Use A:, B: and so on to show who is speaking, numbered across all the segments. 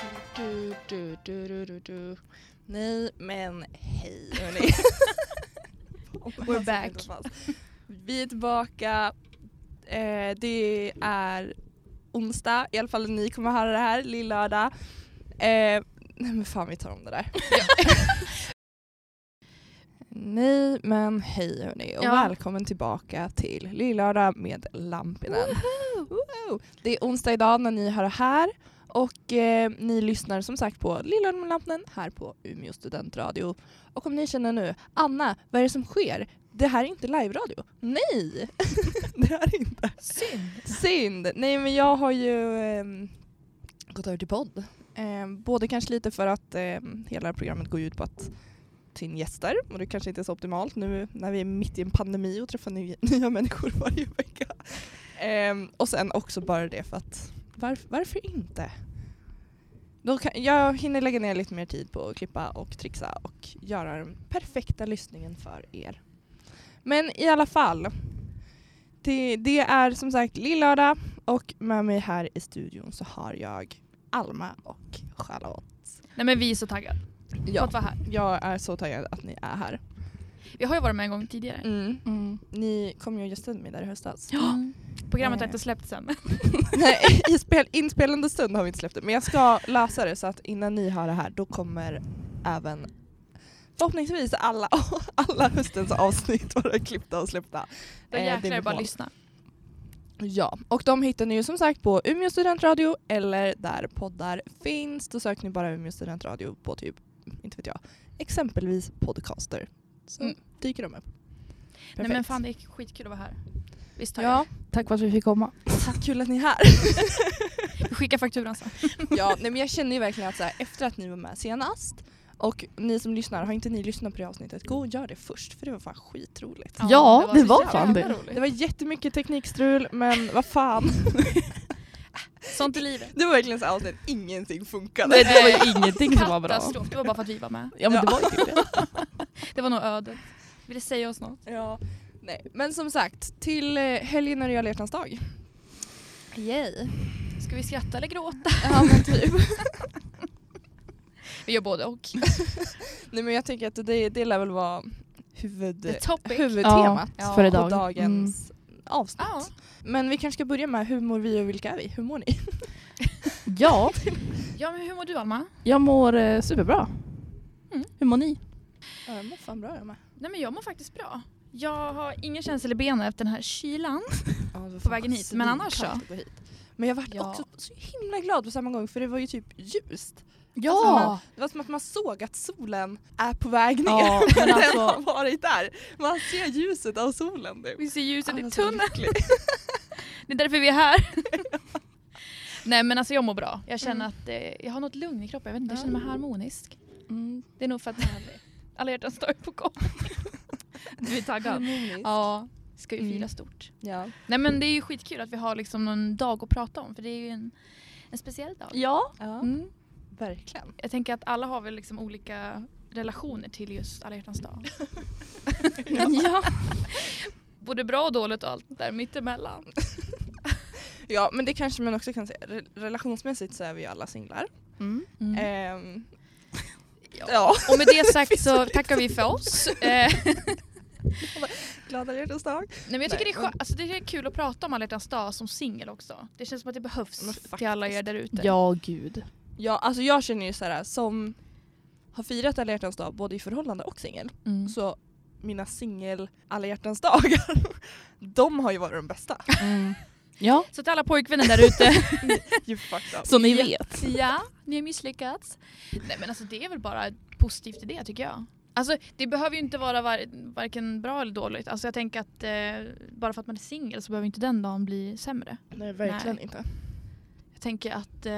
A: Du, du, du, du, du, du. Nej, men hej hörni. Alltså,
B: We're back.
A: Vi är tillbaka. Eh, det är onsdag, i alla fall ni kommer höra det här, lillördag. Eh, nej men fan vi tar om det där. nej men hej hörni och
B: Ja.
A: välkommen tillbaka till lillördag med Lampinen. Woho! Det är onsdag idag när ni hör det här och eh, ni lyssnar som sagt på Lillördag med Lampinen här på Umeå studentradio. Och om ni känner nu, Anna vad är det som sker? Det här är inte live-radio. Nej! det här är inte.
B: Synd.
A: Synd! Nej men jag har ju ehm, gått över till podd. Ehm, både kanske lite för att ehm, hela programmet går ju ut på att ta in gäster och det kanske inte är så optimalt nu när vi är mitt i en pandemi och träffar ny- nya människor varje vecka. Ehm, och sen också bara det för att varf- varför inte? Då kan, jag hinner lägga ner lite mer tid på att klippa och trixa och göra den perfekta lyssningen för er. Men i alla fall. Det, det är som sagt lillördag och med mig här i studion så har jag Alma och Charlotte.
B: Nej men vi är så taggade. Ja.
A: Ja,
B: Fått vara här.
A: jag är så taggad att ni är här.
B: Vi har ju varit med en gång tidigare.
A: Mm. Ni kom ju och gästade mig där i höstas.
B: Mm. Programmet har
A: Eh.
B: inte släppts än.
A: Nej, i spel, inspelande stund har vi inte släppt det men jag ska lösa det så att innan ni har det här då kommer även förhoppningsvis alla, alla höstens avsnitt vara klippta och släppta.
B: Då
A: Eh, det är
B: jäklar är det bara att
A: mål.
B: lyssna.
A: Ja, och de hittar ni ju som sagt på Umeå studentradio eller där poddar finns. Då söker ni bara Umeå studentradio på typ, inte vet jag, exempelvis podcaster. Så
B: Mm.
A: dyker de upp.
B: Nej men
A: Perfekt.
B: fan det är skitkul att vara här. Visst har
A: Ja,
C: Tack för att vi fick komma.
A: tack, kul att ni är här.
B: jag. Vi skickar fakturan sen.
A: ja, nej, men jag känner ju verkligen att så här, efter att ni var med senast och ni som lyssnar, har inte ni lyssnat på det avsnittet, gå och gör det först för det var fan skitroligt.
C: Ja,
B: så
C: det var
B: jävla
C: fan det.
B: roligt.
A: Det var jättemycket teknikstrul men vad fan.
B: Sånt i livet. Eh,
A: Det var verkligen så här avsnitt, ingenting funkade.
C: Nej, det var ju ingenting som var bra.
B: Katastrof. Det var bara för att vi var med.
C: Ja men det var ju typ det.
B: Det var nog ödet. Ville säga oss något.
A: Ja, nej. Men som sagt, till eh, helgen är det ju alla hjärtans dag. Yay.
B: Ska vi skratta eller gråta?
A: Ja men typ.
B: Vi gör både och.
A: nej men jag tänker att det, det lär väl vara huvud,
B: The topic.
A: huvudtemat
B: Ja,
C: för
A: på
C: idag. Mm.
A: dagens avsnitt.
B: Ja.
A: Men vi kanske ska börja med hur mår vi och vilka är vi? Hur mår ni?
C: Mm. Ja,
B: ja men hur mår du Alma?
C: jag mår eh, superbra.
B: Mm.
C: Hur mår ni?
A: Ja, jag mår fan bra jag med.
B: Nej men jag mår faktiskt bra. Jag har ingen känsla i benen efter den här kylan. På vägen hit, men annars så?
A: Men jag vart
B: Ja.
A: också så himla glad på samma gång för det var ju typ ljust.
C: Ja!
A: Alltså, Det var som att man såg att solen är på väg ner.
C: ja men
A: Den
C: alltså,
A: har varit där. Man ser ljuset av solen. typ.
B: Vi ser ljuset i
A: Alltså,
B: tunneln.
A: lycklig.
B: Det är därför vi är här. Nej men alltså jag mår bra. Jag känner att eh, jag har något lugn i kroppen. Jag vet inte, jag känner mig harmonisk.
C: mm,
B: Det är nog för att alla hjärtans dag är på gång. du är taggad?
A: Harmoniskt.
B: Ja, ska ju fira
A: Mm.
B: stort.
A: Ja.
B: Nej men det är ju skitkul att vi har liksom någon dag att prata om för det är ju en, en speciell dag.
C: ja.
B: Mm.
A: verkligen.
B: Jag tänker att alla har väl liksom olika relationer till just alla hjärtans dag.
C: ja.
B: Både bra och dåligt och allt där mittemellan.
A: Ja, men det kanske man också kan säga. Re- Relationsmässigt så är vi ju alla singlar.
C: Mm.
A: Ehm,
B: Ja.
A: ja.
B: Och med det sagt så tackar vi för oss. Eh,
A: Glada hjärtans dag.
B: Nej, men jag tycker
A: Nej,
B: det, är skö- alltså, det är kul att prata om alla hjärtans dag som singel också. Det känns som att det
A: Men
B: behövs
A: faktiskt.
B: till alla er där ute.
C: ja gud.
A: Ja, alltså jag känner ju så här som har firat alla hjärtans dag både i förhållande och singel.
B: Mm.
A: Så mina singel alla hjärtans dagar, de har ju varit de bästa.
C: Mm. Ja,
B: Så till alla pojkvänner där ute.
A: You fucked up.
C: så ni vet.
B: ja, ni har misslyckats. Nej men alltså det är väl bara positivt i det tycker jag. Alltså det behöver ju inte vara var- varken bra eller dåligt. Alltså jag tänker att eh, bara för att man är singel så behöver inte den dagen bli sämre.
A: Nej,
B: verkligen
A: inte.
B: Jag tänker att eh,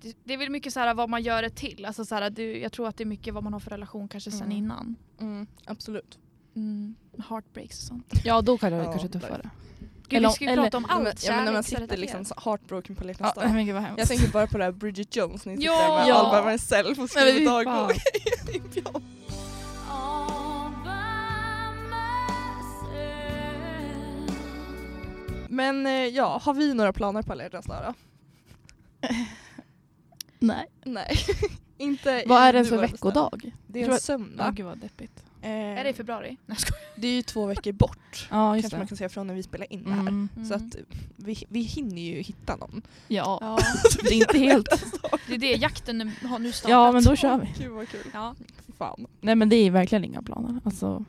B: det, det är väl mycket så här vad man gör det till. Alltså så här, du, jag tror att det är mycket vad man har för relation kanske sen
A: Mm.
B: innan.
A: Mm, absolut.
B: Mm. Heartbreaks och sånt.
C: Ja då kan det
A: Ja,
C: kanske
A: där.
C: tuffare.
B: Gud,
C: Eller-
B: vi ska ju
C: eller-
B: prata om
A: men,
B: allt.
A: ja, men när man sitter
B: kärleksrelaterat.
A: liksom så heartbroken på alla hjärtans
C: Ja,
A: dag.
C: men gud vad
A: Jag
C: hemskt.
A: tänker bara på det här Bridget Jones när ni sitter
B: Ja.
A: där med
C: Ja.
A: All by myself och
C: Nej, men
A: skriver
C: fy fan.
A: dagbok. eh, Men eh, ja, har vi några planer på alla hjärtans dag då?
C: Nej.
A: Nej. Inte
C: Vad
A: i
C: är
A: nuvarande
C: det för
A: stund.
C: veckodag?
A: Det är
C: Tror
A: en
C: jag-
A: söndag. Eh,
C: Ja, gud vad deppigt.
B: Är det i februari? Nej, jag skojar.
A: det är ju två veckor bort.
C: Ja, just
A: kanske man
C: det.
A: kan säga från när vi spelar in det här.
C: Mm.
A: Så att vi, vi hinner ju hitta någon.
C: Ja,
B: Ja,
C: det är inte helt...
B: det är det. Jakten har nu startat.
C: Ja, men då kör vi.
A: Gud vad kul.
B: Ja,
A: Fan.
C: Nej men det är verkligen inga planer. Alltså,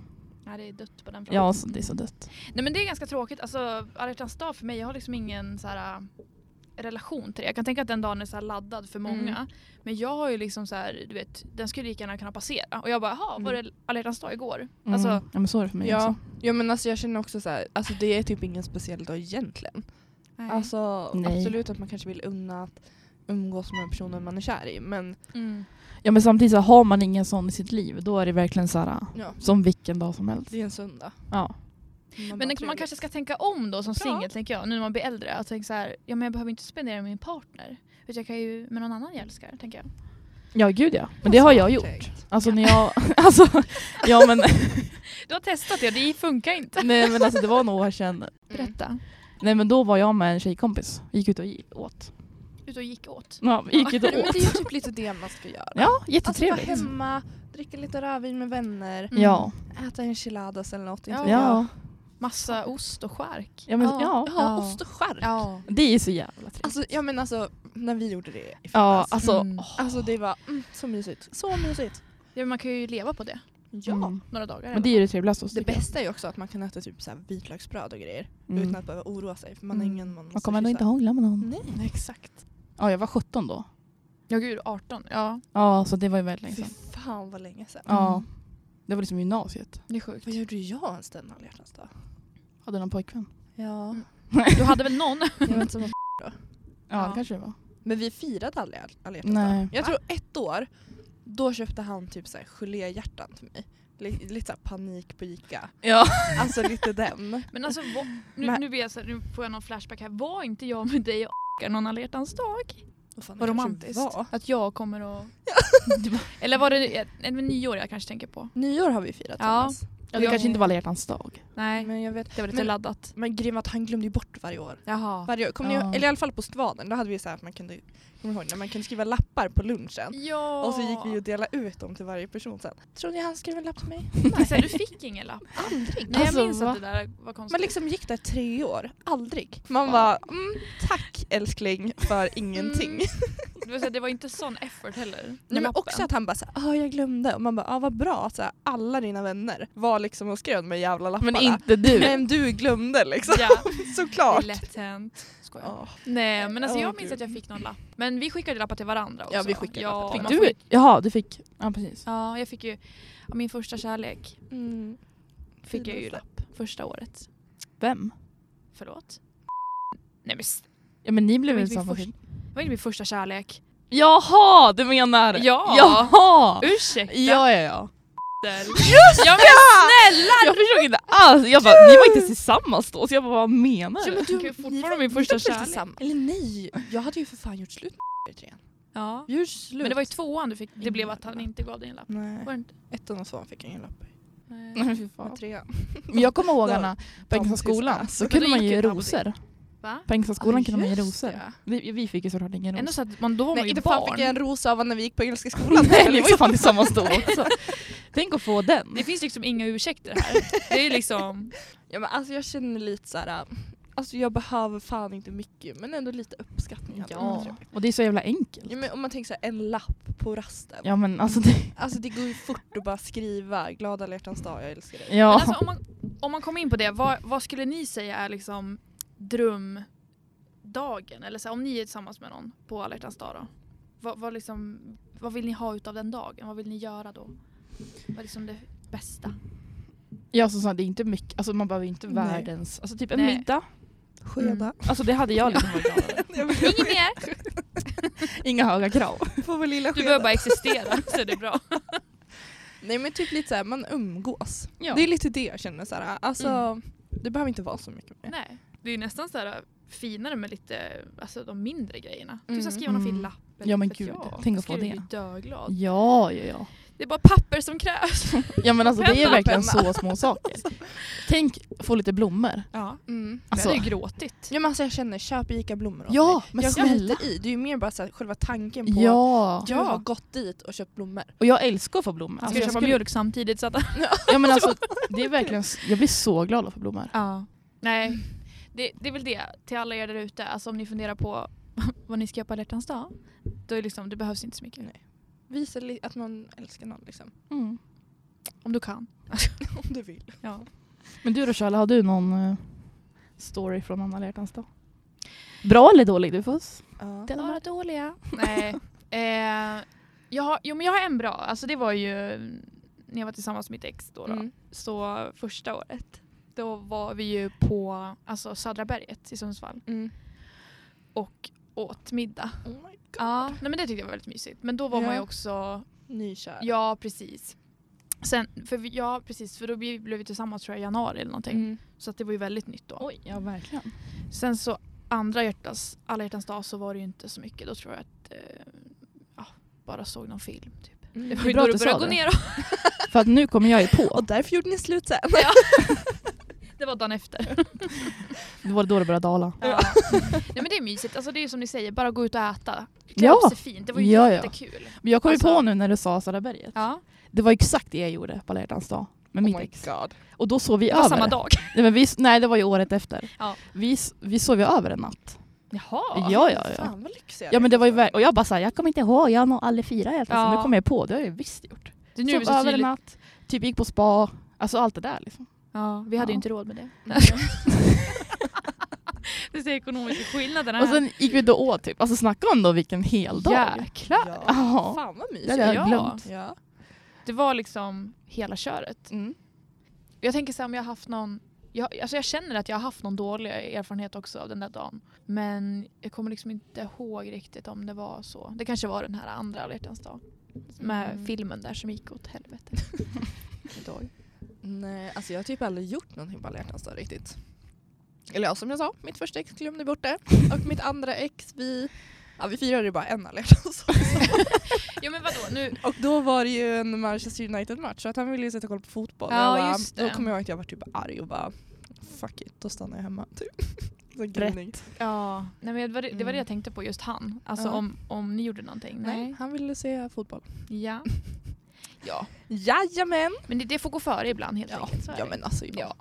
B: nej, det är dött på den fronten.
C: ja, alltså, det är så dött.
B: Nej men det är ganska tråkigt. Alltså alla hjärtans dag för mig, jag har liksom ingen så här, äh, relation till det. Jag kan tänka att den dagen är så här laddad för
C: Mm.
B: många. Men jag har ju liksom så här, du vet, den skulle lika gärna kunna passera. Och jag bara, jaha, var det alla hjärtans dag igår?
C: Mm.
B: Alltså,
C: ja, men så är det för mig
A: Ja.
C: också.
A: ja men alltså jag känner också så här, alltså det är typ ingen speciell dag egentligen. Alltså
C: Nej.
A: absolut att man kanske vill unna att umgås med personen man är kär i men
B: Mm.
C: Ja men samtidigt så här, har man ingen sån i sitt liv då är det verkligen så här,
A: ja,
C: som vilken dag som helst.
A: det är en söndag.
C: Ja.
B: Men man kanske ska tänka om då som
A: Ja.
B: singel tänker jag, nu när man blir äldre. Att tänka så här, ja men jag behöver inte spendera med min partner. Utan jag kan ju med någon annan jag älskar, tänker jag.
C: Ja gud ja. Men det har jag gjort.
A: Tänkt.
C: Alltså när jag, alltså, ja men,
B: Du har testat det, det funkar inte.
C: nej men alltså det var några år sedan.
A: Mm.
B: Berätta.
C: Nej men då var jag med en tjejkompis, gick ut och gi- åt.
B: Ut och gick åt.
C: Ja, vi gick ut och
A: Men
C: åt.
A: det är ju typ lite det man ska göra.
C: Ja,
A: Alltså vara
C: jättetrevligt.
A: hemma, dricka lite rödvin med vänner,
B: Mm.
C: Ja,
A: äta enchiladas eller något.
B: Ja.
A: inte vet jag.
C: ja,
B: Massa ost och skärk.
C: ja, men,
A: Ja.
C: ja.
A: Ja, ost och skärk.
B: Ja.
C: Det är så jävla trevligt.
A: Alltså, ja men alltså när vi gjorde det i
C: Ja,
A: fredags.
C: alltså,
B: Mm.
C: åh.
A: Alltså det var mm, så mysigt. Så mysigt.
B: Ja, men man kan ju leva på det.
A: Ja.
C: Mm.
B: Några dagar.
C: Men det är ju det trevligaste hos
A: Det bästa är ju också att man kan äta typ så här vitlöksbröd och grejer utan att Mm. behöva oroa sig för man har
B: Mm.
A: ingen man måste
C: Mm. Man kommer ändå inte
A: kyssa.
C: hångla med någon.
A: Nej.
B: Exakt.
C: Ja, jag var 17 då.
B: Ja gud, 18. Ja.
C: Ja, så det var ju väldigt länge
A: Fy
C: sedan.
A: fan Mm. vad länge sedan.
C: liksom. Ja. Det var liksom gymnasiet.
B: Det är sjukt.
A: Vad gjorde jag ens den alla hjärtans dag?
C: Hade någon pojkvän?
A: Ja.
B: Du hade väl någon?
A: Jag var inte så många-
C: Ja,
B: Ja.
C: det kanske det var.
A: Men vi firade alla hjärt- alla hjärtans
C: Nej.
A: dag. Jag tror ett år, då köpte han typ så här geléhjärtan till mig. Li- Lite såhär panik på Ica.
C: Ja.
A: Alltså lite den.
B: Men alltså, va, nu,
A: Men-
B: nu, blir jag så här, nu får jag någon flashback här. Var inte jag med dig och någon alla hjärtans dag?
A: Vad fan, det
B: Vad
A: kanske
B: romantiskt.
A: var.
B: Att jag kommer och... Eller var det ett, ett, nyår jag kanske tänker på?
A: Nyår har vi firat
B: Ja.
A: tillsammans.
C: Ja, det
B: Jag-
C: kanske inte var alla hjärtans dag.
B: Nej,
A: Men jag vet.
B: det var lite
A: men-
B: laddat.
A: Men grejen var att han glömde ju bort varje år.
B: Jaha.
A: Varje år. Kommer ni
C: Ja.
A: ihåg- eller i alla fall på skvadern, då hade vi så här att man kunde, kommer ni ihåg, när man kunde skriva lappar på lunchen.
B: Ja.
A: Och så gick vi och delade ut dem till varje person sen. Tror ni han skrev en lapp till mig?
B: Nej. Så här, du fick ingen lapp?
A: Aldrig.
B: Nej,
C: Alltså,
B: jag minns
C: va?
B: att det där var konstigt.
A: Man liksom gick där tre år, aldrig. Man bara, mm, tack älskling för ingenting.
B: Mm. Det, var så här, det var inte sån effort heller. med
A: Nej, men
B: lappen.
A: också att han bara såhär, ah, jag glömde. Och man bara, ah, vad bra att så här, alla dina vänner var liksom och skrev med jävla lapparna.
C: Men inte du.
A: Men du glömde liksom,
B: Ja, det är
A: såklart.
B: lätt hänt. Skojar.
A: Ja.
B: Nej men alltså
A: Åh,
B: jag minns
A: gud.
B: att jag fick någon lapp. Men vi skickade lappar till varandra också.
A: Ja, vi skickade lappar till
B: man
A: varandra.
B: får
C: Du,
B: ju-
C: jaha, du fick. Ja, precis.
B: Ja jag fick ju, ja, min första kärlek
A: Mm.
B: fick jag ju
A: Finaste.
B: lapp första året.
C: Vem?
B: Förlåt. Nej men s-
C: Ja, men ni blev
B: Det var
C: väl
B: inte min
C: tillsammans?
B: första- det var inte min första kärlek.
C: Jaha, du menar?
B: Ja.
C: Jaha!
B: Ursäkta!
C: Ja, ja, ja.
B: Just ja! Men,
C: Snälla! Jag förstod inte alls. Jag bara, ni var inte tillsammans då. Så jag bara, vad menar
B: ja,
C: du?
B: men du är fortfarande min första kärlek.
A: Eller nej, jag hade ju för fan gjort slut med trean.
B: Ja.
A: Gjort slut.
B: Men det var ju tvåan du fick, det
A: Ingen
B: blev att han
A: lapp.
B: inte gav dig en lapp.
A: Nej,
B: Var det inte?
A: ettan och tvåan fick jag ingen lapp i.
B: Nej.
C: Nej, fy fan.
A: Men trean.
C: Men jag kommer ihåg
A: Då-
C: Anna, på Engelska
A: Tomtis,
C: skolan
A: alltså.
C: så kunde
B: Men då
C: man
B: gick
C: ge
B: ju Nabbo
C: rosor.
B: Va?
C: På Engelska skolan kunde man ge
A: just
C: rosor.
A: det.
C: Vi, vi fick ju såklart ingen
B: Ändå
C: ros.
B: så att man, då var man
A: Nej,
B: ju
A: inte
B: barn.
A: fan fick jag en ros av när vi gick på Engelska skolan.
C: Nej, ni var ju fan tillsammans då också. Tänk att få den.
B: Det finns liksom inga ursäkter här. Det är liksom,
A: Ja, men alltså jag känner lite så här. Alltså jag behöver fan inte mycket men ändå lite uppskattning. hade varit
C: Ja,
A: trevligt.
C: och det är så jävla enkelt.
A: Ja, men om man tänker så här, en lapp på rasten.
C: Ja men alltså det...
A: Alltså det går ju fort att bara skriva glada alla hjärtans dag, jag älskar dig.
B: men
C: Ja.
B: alltså, om, man, om man kommer in på det, vad, vad skulle ni säga är liksom drömdagen? Eller så här, om ni är tillsammans med någon på alla hjärtans dag då? Vad, vad, liksom, vad vill ni ha utav den dagen? Vad vill ni göra då? Vad är liksom det bästa?
C: Ja som sagt, det är inte mycket, alltså man behöver ju inte
A: Nej.
C: världens, alltså typ en
B: Nej.
C: middag.
A: Skeda.
C: Alltså det hade jag liksom varit glad över.
A: Jag vill
B: Inget mer!
C: Inga höga krav.
A: få vår lilla
B: Du
A: skeda.
B: behöver bara existera så är det bra.
A: Nej men typ lite såhär, man umgås.
C: Ja.
A: Det är lite det jag känner såhär, alltså det behöver inte vara så mycket mer.
B: Nej, det är nästan så här äh, finare med lite, alltså de mindre grejerna. Du ska
A: Mm.
B: skriva någon fin
C: Mm.
B: lapp.
C: Ja, men
B: vet
C: gud,
B: jag.
C: tänk att
B: Ska
C: få Mm.
B: du
C: det.
B: bli döglad.
C: Ja, ja, ja.
B: Det är bara papper som krävs.
C: Ja men alltså det är
B: Penna,
C: verkligen
B: penna.
C: så små saker. Tänk få lite blommor.
B: Ja.
A: Mm.
B: Alltså.
C: Alltså.
B: Jag hade ju gråtit.
A: Ja, men alltså jag känner, köp ICA-blommor åt
C: Ja,
A: mig.
C: men
A: jag
C: snälla.
A: skiter i. Det är ju mer bara så här, själva tanken på
C: Ja.
A: att du har gått dit och köpt blommor.
C: Och jag älskar att få blommor.
B: Han
C: Alltså,
B: ska
C: jag
B: köpa
C: skulle-
B: mjölk samtidigt så att
C: Ja men alltså det är verkligen, s- jag blir så glad av att få blommor.
B: Ja. Nej, det, det är väl det till alla er där ute. Alltså om ni funderar på vad ni ska göra på alla hjärtans dag. Då är det liksom, det behövs inte så mycket.
A: Visa li- att man älskar någon liksom.
C: Mm.
B: Om du kan.
A: Om du vill.
B: Ja.
C: Men du då Charla, har du någon eh, story från Anna Lertans dag? Bra eller dålig? Du får s-
A: Ja.
C: dela med dig.
B: dåliga. Nej. Eh, jag har, jo men jag har en bra. Alltså det var ju mm, när jag var tillsammans med mitt ex då. då.
A: Mm.
B: Så första året. Då var vi ju på alltså, Södra berget i Sundsvall
A: Mm.
B: och åt middag.
A: Oh my god.
B: Ja, nej, men det tyckte jag var väldigt mysigt. Men då var man ju
A: Ja.
B: också
A: Nykär.
B: Ja, precis. Sen, för vi, ja, precis. För då blev blev vi tillsammans tror jag i januari eller någonting.
A: Mm.
B: Så att det var ju väldigt nytt då.
C: Oj, ja verkligen.
B: Sen så andra hjärtas, alla hjärtans dag så var det ju inte så mycket. Då tror jag att eh, ja, bara såg någon film.
A: Mm.
B: Typ. Det var
C: är
B: ju då
C: bra att
B: det
C: du
B: började
C: sa
B: gå
C: det.
B: ner.
C: För att nu kommer jag ju på.
A: Och därför gjorde ni slut sen.
B: Det var dagen efter.
C: Det var då det började dala.
B: Ja. Nej men det är mysigt. Alltså det är ju som ni säger, bara gå ut och äta. Klä
C: Ja.
B: upp sig fint. Det var ju
C: Ja, ja.
B: jättekul.
C: Men jag kom ju
B: Alltså-
C: på nu när du sa Södra berget.
B: Ja.
C: Det var exakt det jag gjorde på Alla hjärtans dag med mitt
A: oh my
C: ex.
A: god.
C: Och då sov vi
B: Det var
C: över.
B: samma dag.
C: Nej, men vi, s- nej det var ju året efter.
B: Ja.
C: Vi, s- vi sov ju över en natt.
B: Jaha.
C: Ja ja ja.
A: Fan vad lyxiga
C: Ja
A: ni
C: men det var ju
A: var.
C: ver- och jag bara såhär, jag kommer inte ihåg, jag har nog aldrig firat helt.
B: Ja.
C: Alltså, nu kommer jag på, det har jag ju visst gjort.
B: Det är nu är
C: sov
B: vi så
C: över en
B: tydligt.
C: natt, typ gick på spa, alltså allt det där liksom.
B: Ja, vi hade ju
C: Ja.
B: inte råd med det. Det är ekonomiska skillnaderna
C: Och sen gick vi då åt typ, alltså snacka om då vilken hel dag.
B: Jäklar.
A: Ja.
C: Ja.
A: Fan vad
C: Det
A: mysigt.
C: hade jag
B: Ja.
C: glömt.
A: Ja.
B: Det var liksom hela köret.
A: Mm.
B: Jag tänker så här, om jag har haft någon... Jag, alltså jag känner att jag har haft någon dålig erfarenhet också av den där dagen. Men jag kommer liksom inte ihåg riktigt om det var så. Det kanske var den här andra alla hjärtans dag. Med
A: Mm.
B: filmen där som gick åt helvete. Inte ihåg.
A: Nej, alltså jag har typ aldrig gjort någonting på alla hjärtans dag riktigt. Eller ja, som jag sa, mitt första ex glömde bort det. Och mitt andra ex, vi, ja, vi firade ju bara en alla hjärtans dag.
B: ja men vadå nu?
A: Och då var det ju en Manchester United-match så att han ville ju sätta koll på fotboll.
B: Ja,
A: Och jag bara,
B: just det.
A: Då kommer jag ihåg att jag var typ arg och bara fuck it, då stannar jag hemma. Typ. Så grinig.
B: Ja, nej, men det, var det, det var det
A: Mm.
B: jag tänkte på, just han. Alltså
A: Ja.
B: om, om ni gjorde någonting.
A: Nej, han ville se fotboll.
B: Ja. ja.
A: Jajamän!
B: Men det, det får gå före ibland helt
A: Ja,
B: enkelt. så är
A: ja
B: det.
A: men alltså
B: ja.
A: ja.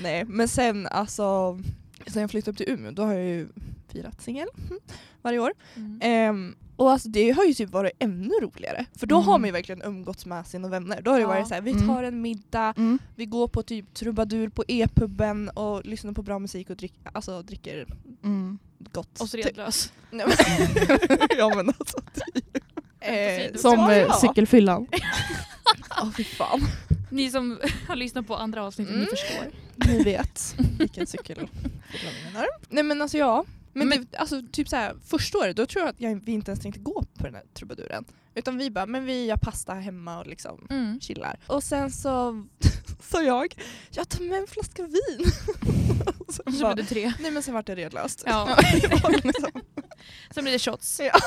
A: Nej men sen alltså, sen jag flyttade upp till Umeå då har jag ju firat singel varje år.
B: Mm.
A: Ehm, och alltså det har ju typ varit ännu roligare. För då
C: Mm.
A: har man ju verkligen umgåtts med sina vänner. Då har det
B: Ja.
A: varit så här, vi
C: Mm.
A: tar en middag,
C: Mm.
A: vi går på typ trubadur på e-puben och lyssnar på bra musik och drick, alltså, dricker
C: Mm.
A: gott.
B: Och så
A: Typ.
B: redlös.
A: Nej, men- ja men alltså typ. Eh,
B: Som,
A: så
C: Som
A: var
C: eh,
A: jag.
C: cykelfyllan.
A: Åh fy fan.
B: Ni som har lyssnat på andra avsnittet,
A: Mm.
B: ni förstår.
A: Ni vet vilken cykel jag menar. Nej men alltså ja. Men,
B: Men-
A: Det, alltså, typ så här, första året då tror jag att jag, vi inte ens tänkte gå på den här trubaduren. Utan vi bara, men vi gör pasta hemma och liksom chillar. Och sen så sa jag, jag tar med en flaska vin. Och sen
B: Och så
A: bara,
B: blev det tre.
A: Nej men sen vart det redlöst.
B: Ja.
A: Det var liksom,
B: Sen blev det shots.
A: ja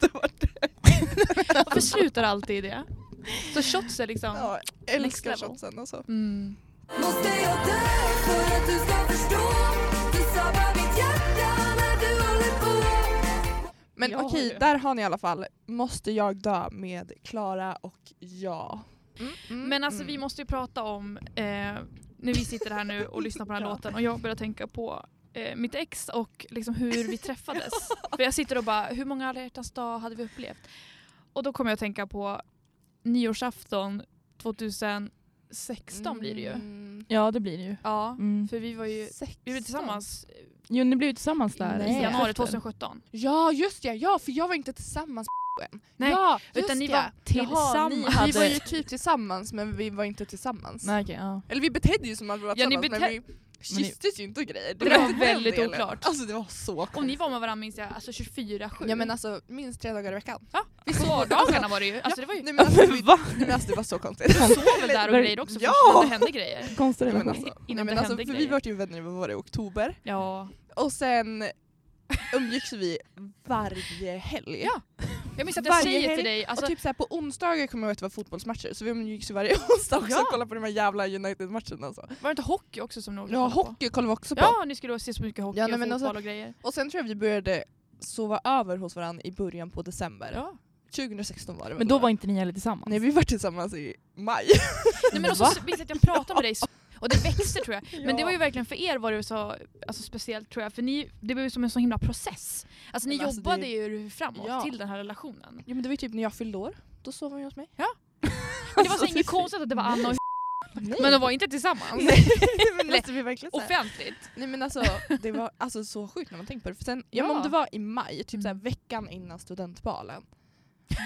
A: det var det.
B: Varför slutar alltid i det? Så shots är liksom...
A: Ja,
B: Next
A: älskar
B: level.
A: shotsen alltså.
B: Mm.
D: Måste jag dö för att du ska förstå? Du sabbar mitt hjärta när du håller på
A: Men
B: Jag har
A: okej,
B: det.
A: där har ni i alla fall Måste jag dö med Klara och jag. mm,
B: Men alltså vi måste ju prata om, eh, när vi sitter här nu och lyssnar på den här
A: Ja.
B: låten och jag börjar tänka på eh, mitt ex och liksom hur vi träffades. För jag sitter och bara, hur många alla hjärtans dag hade vi upplevt? Och då kommer jag att tänka på nyårsafton 2016 blir det ju.
A: ju.
C: Ja det blir det ju.
B: Ja,
C: Mm.
B: för vi var ju vi var tillsammans
C: Jo ni blev ju tillsammans där.
A: Nej.
B: i januari
C: efter.
B: 2017.
A: Ja just det, ja för jag var inte tillsammans än.
B: Nej,
A: ja, just
B: utan ni
A: det.
B: var
A: Jaha, ni,
B: tillsammans.
A: Vi var ju typ tillsammans men vi var inte tillsammans.
C: Nej okej, ja.
A: Eller vi betedde ju som att vi var
B: Ja, ni
A: tillsammans men vi kysstes ju inte och grejer.
B: Det var
A: den
B: väldigt
A: delen.
B: oklart.
A: Alltså det var så
B: Och ni
A: konstigt.
B: var med varandra minns jag, alltså 24-7.
A: Ja men alltså minst tre dagar i veckan.
B: ja, vid vardagarna var det ju. Alltså det var ju
A: Nej men alltså, vi,
C: Va?
A: nej, men alltså det var så konstigt.
B: sovel där och
C: Men-
B: grejer också
A: Ja!
B: först, men det hände grejer.
C: Konstig
A: Nej, men
C: relation.
A: alltså, nej,
B: Innan
A: men
B: det
A: alltså,
B: hände
A: för vi
B: grejer.
A: var ju vänner vad var det, i oktober
B: Ja.
A: och sen umgicks vi varje helg.
B: Ja. Jag minns att jag
A: Varje
B: säger
A: helg
B: till dig, alltså,
A: och typ så här, på onsdagar kommer jag ihåg att det var fotbollsmatcher så vi umgicks ju varje onsdag också
B: Ja.
A: och kollade på de här jävla United-matcherna. Alltså.
B: var det inte hockey också som någon
A: Ja, hockey kollade vi också på.
B: Ja, ni skulle se så mycket hockey
A: Ja, nej,
B: och
A: men
B: fotboll
A: alltså-
B: och grejer.
A: Och sen tror jag vi började sova över hos varandra i början på december.
B: Ja.
A: 2016 var det
C: Men
A: väl
C: då var inte ni heller tillsammans?
A: Nej vi var tillsammans i maj.
B: Nej, men också
C: Va?
B: minns jag att jag pratade med dig så- och det växte tror jag. Men det
A: Ja.
B: var ju verkligen för er var det så alltså, speciellt tror jag, för ni, det var ju som en sån himla process. Alltså ni
A: Men alltså,
B: jobbade
A: det-
B: ju framåt
A: Ja.
B: till den här relationen.
A: Ja men det var ju typ när jag fyllde år. Då sov hon ju hos mig.
B: Men det var så inget konstigt att det var Anna och
A: Alltså, Nej.
B: men de var inte tillsammans.
A: Nej, men alltså, vi verkligen så här-
B: Offentligt.
A: Nej men alltså det var alltså, så sjukt när man tänker på det. För sen, ja. men
B: Ja.
A: om det var i maj, typ
B: Mm.
A: så här, veckan innan studentbalen.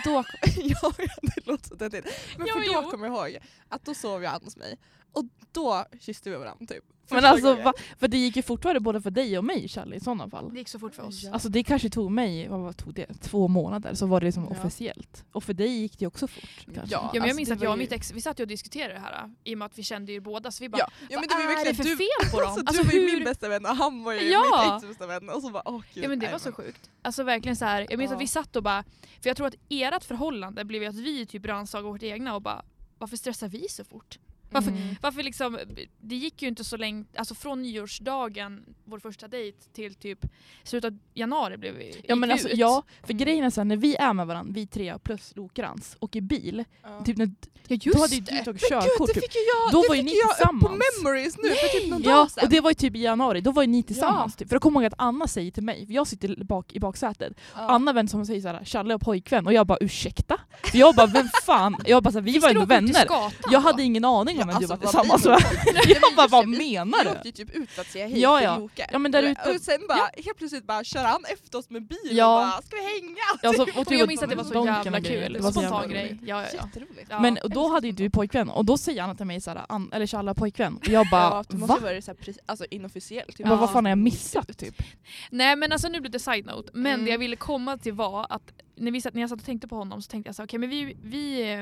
A: Då, ja det låter så töntigt. Men
B: Ja,
A: för
B: men
A: då
B: jo.
A: kommer jag ihåg att då sov jag hos mig. Och då kysste vi varandra typ.
C: Men
A: Första
C: alltså,
A: gången.
C: va, för det gick ju fortfarande både för dig och mig Charlie i sådana fall.
B: Det gick så fort för oss.
C: Alltså det kanske tog mig, vad vad tog det, två månader så var det liksom
A: Ja.
C: officiellt. Och för dig gick det ju också fort. Kanske.
A: Ja.
B: Ja, men jag
A: alltså,
B: minns
A: det
B: att jag
A: var
B: och
A: ju-
B: mitt ex, vi satt ju och diskuterade det här i och med att vi kände ju båda så vi bara
A: Ja, ja men det var ju
B: vad är det
A: verkligen du
B: för fel på dem?
A: Alltså,
B: Alltså,
A: du var ju
B: hur-
A: min bästa vän och han var ju
B: Ja.
A: mitt ex bästa vän. Och så bara, åh, gud,
B: Ja men det
A: nej,
B: var så sjukt. Alltså verkligen så här. jag minns
A: Ja.
B: att vi satt och bara, för jag tror att ert förhållande blev ju att vi typ rannsakade vårt egna och bara varför stressar vi så fort? Varför,
C: Mm.
B: varför liksom, det gick ju inte så länge, alltså från nyårsdagen, vår första dejt, till typ slutet av januari blev vi gick
C: Ja, men
B: vi
C: alltså,
B: ut.
C: ja, för grejen är så här, när vi är med varandra, vi tre plus Lokrans, och i bil,
A: Ja.
C: typ när,
B: ja
C: då hade ju
B: just
C: du
B: det!
C: tagit
A: Gud,
C: körkort.
A: det
C: Typ.
A: fick ju jag,
C: Då
A: det
C: var ju
A: fick
C: ni
A: ju jag upp på
C: tillsammans.
A: memories nu för typ någon
C: Ja,
A: dag sedan.
C: och det var ju typ i januari, då var ju ni tillsammans. Typ. För jag kommer ihåg att Anna säger till mig, för jag sitter bak, i baksätet,
A: Ja.
C: Anna vänder sig om och säger såhär “Challe har pojkvän” och jag bara “ursäkta?” Jag bara “vem fan?” Jag bara så här, “vi var
B: Skulle åka
C: ändå
B: ut till
C: vänner”.
B: Skatan
C: Jag
B: då?
C: hade ingen aning om
A: Ja,
C: att du
A: alltså,
C: var
A: vad
C: tillsammans
A: vi-
C: med Jag
A: men
C: bara
A: just
C: “vad
A: det, vi-
C: menar
A: Vi
C: du?”
A: åkte ju typ ut för att säga hej
C: Ja,
A: till
C: ja.
A: Loke.
C: Ja, men där ute-
A: Och sen bara, helt plötsligt bara kör han efter oss med bil
C: Ja.
A: och bara “ska vi hänga?”
C: Ja, så- och
B: Alltså, Och
C: typ
B: jag minns att det var så
C: donken
B: jävla
C: och grejer.
B: kul,
C: Det var så jävla
B: spontan
C: roligt.
B: grej. Ja, ja, ja.
A: Jätteroligt.
B: ja.
C: Men och då hade ju du pojkvän och då säger Anna till mig såhär "An- “eller Challe har pojkvän” och jag bara
A: ja, det måste
C: “va?”
A: ju vara så här, precis- alltså, inofficiellt. Typ.
C: Jag bara, Vad fan har jag missat? Typ.
B: Nej men alltså nu blev det side-note, men
A: Mm.
B: det jag ville komma till var att när, vi satt, när jag satt och tänkte på honom så tänkte jag så här, okej men vi, vi eh,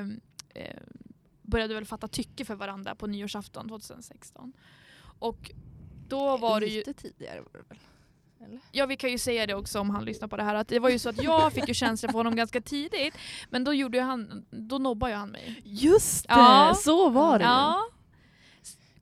B: eh, började väl fatta tycke för varandra på nyårsafton 2016. Och då var det ju,
A: Eh, Lite tidigare var det väl?
B: ja vi kan ju säga det också om han lyssnar på det här, att det var ju så att jag fick ju känslor för honom ganska tidigt men då gjorde ju han, då nobbade ju han mig.
C: Just det,
B: Ja.
C: så var det ju.
B: Ja.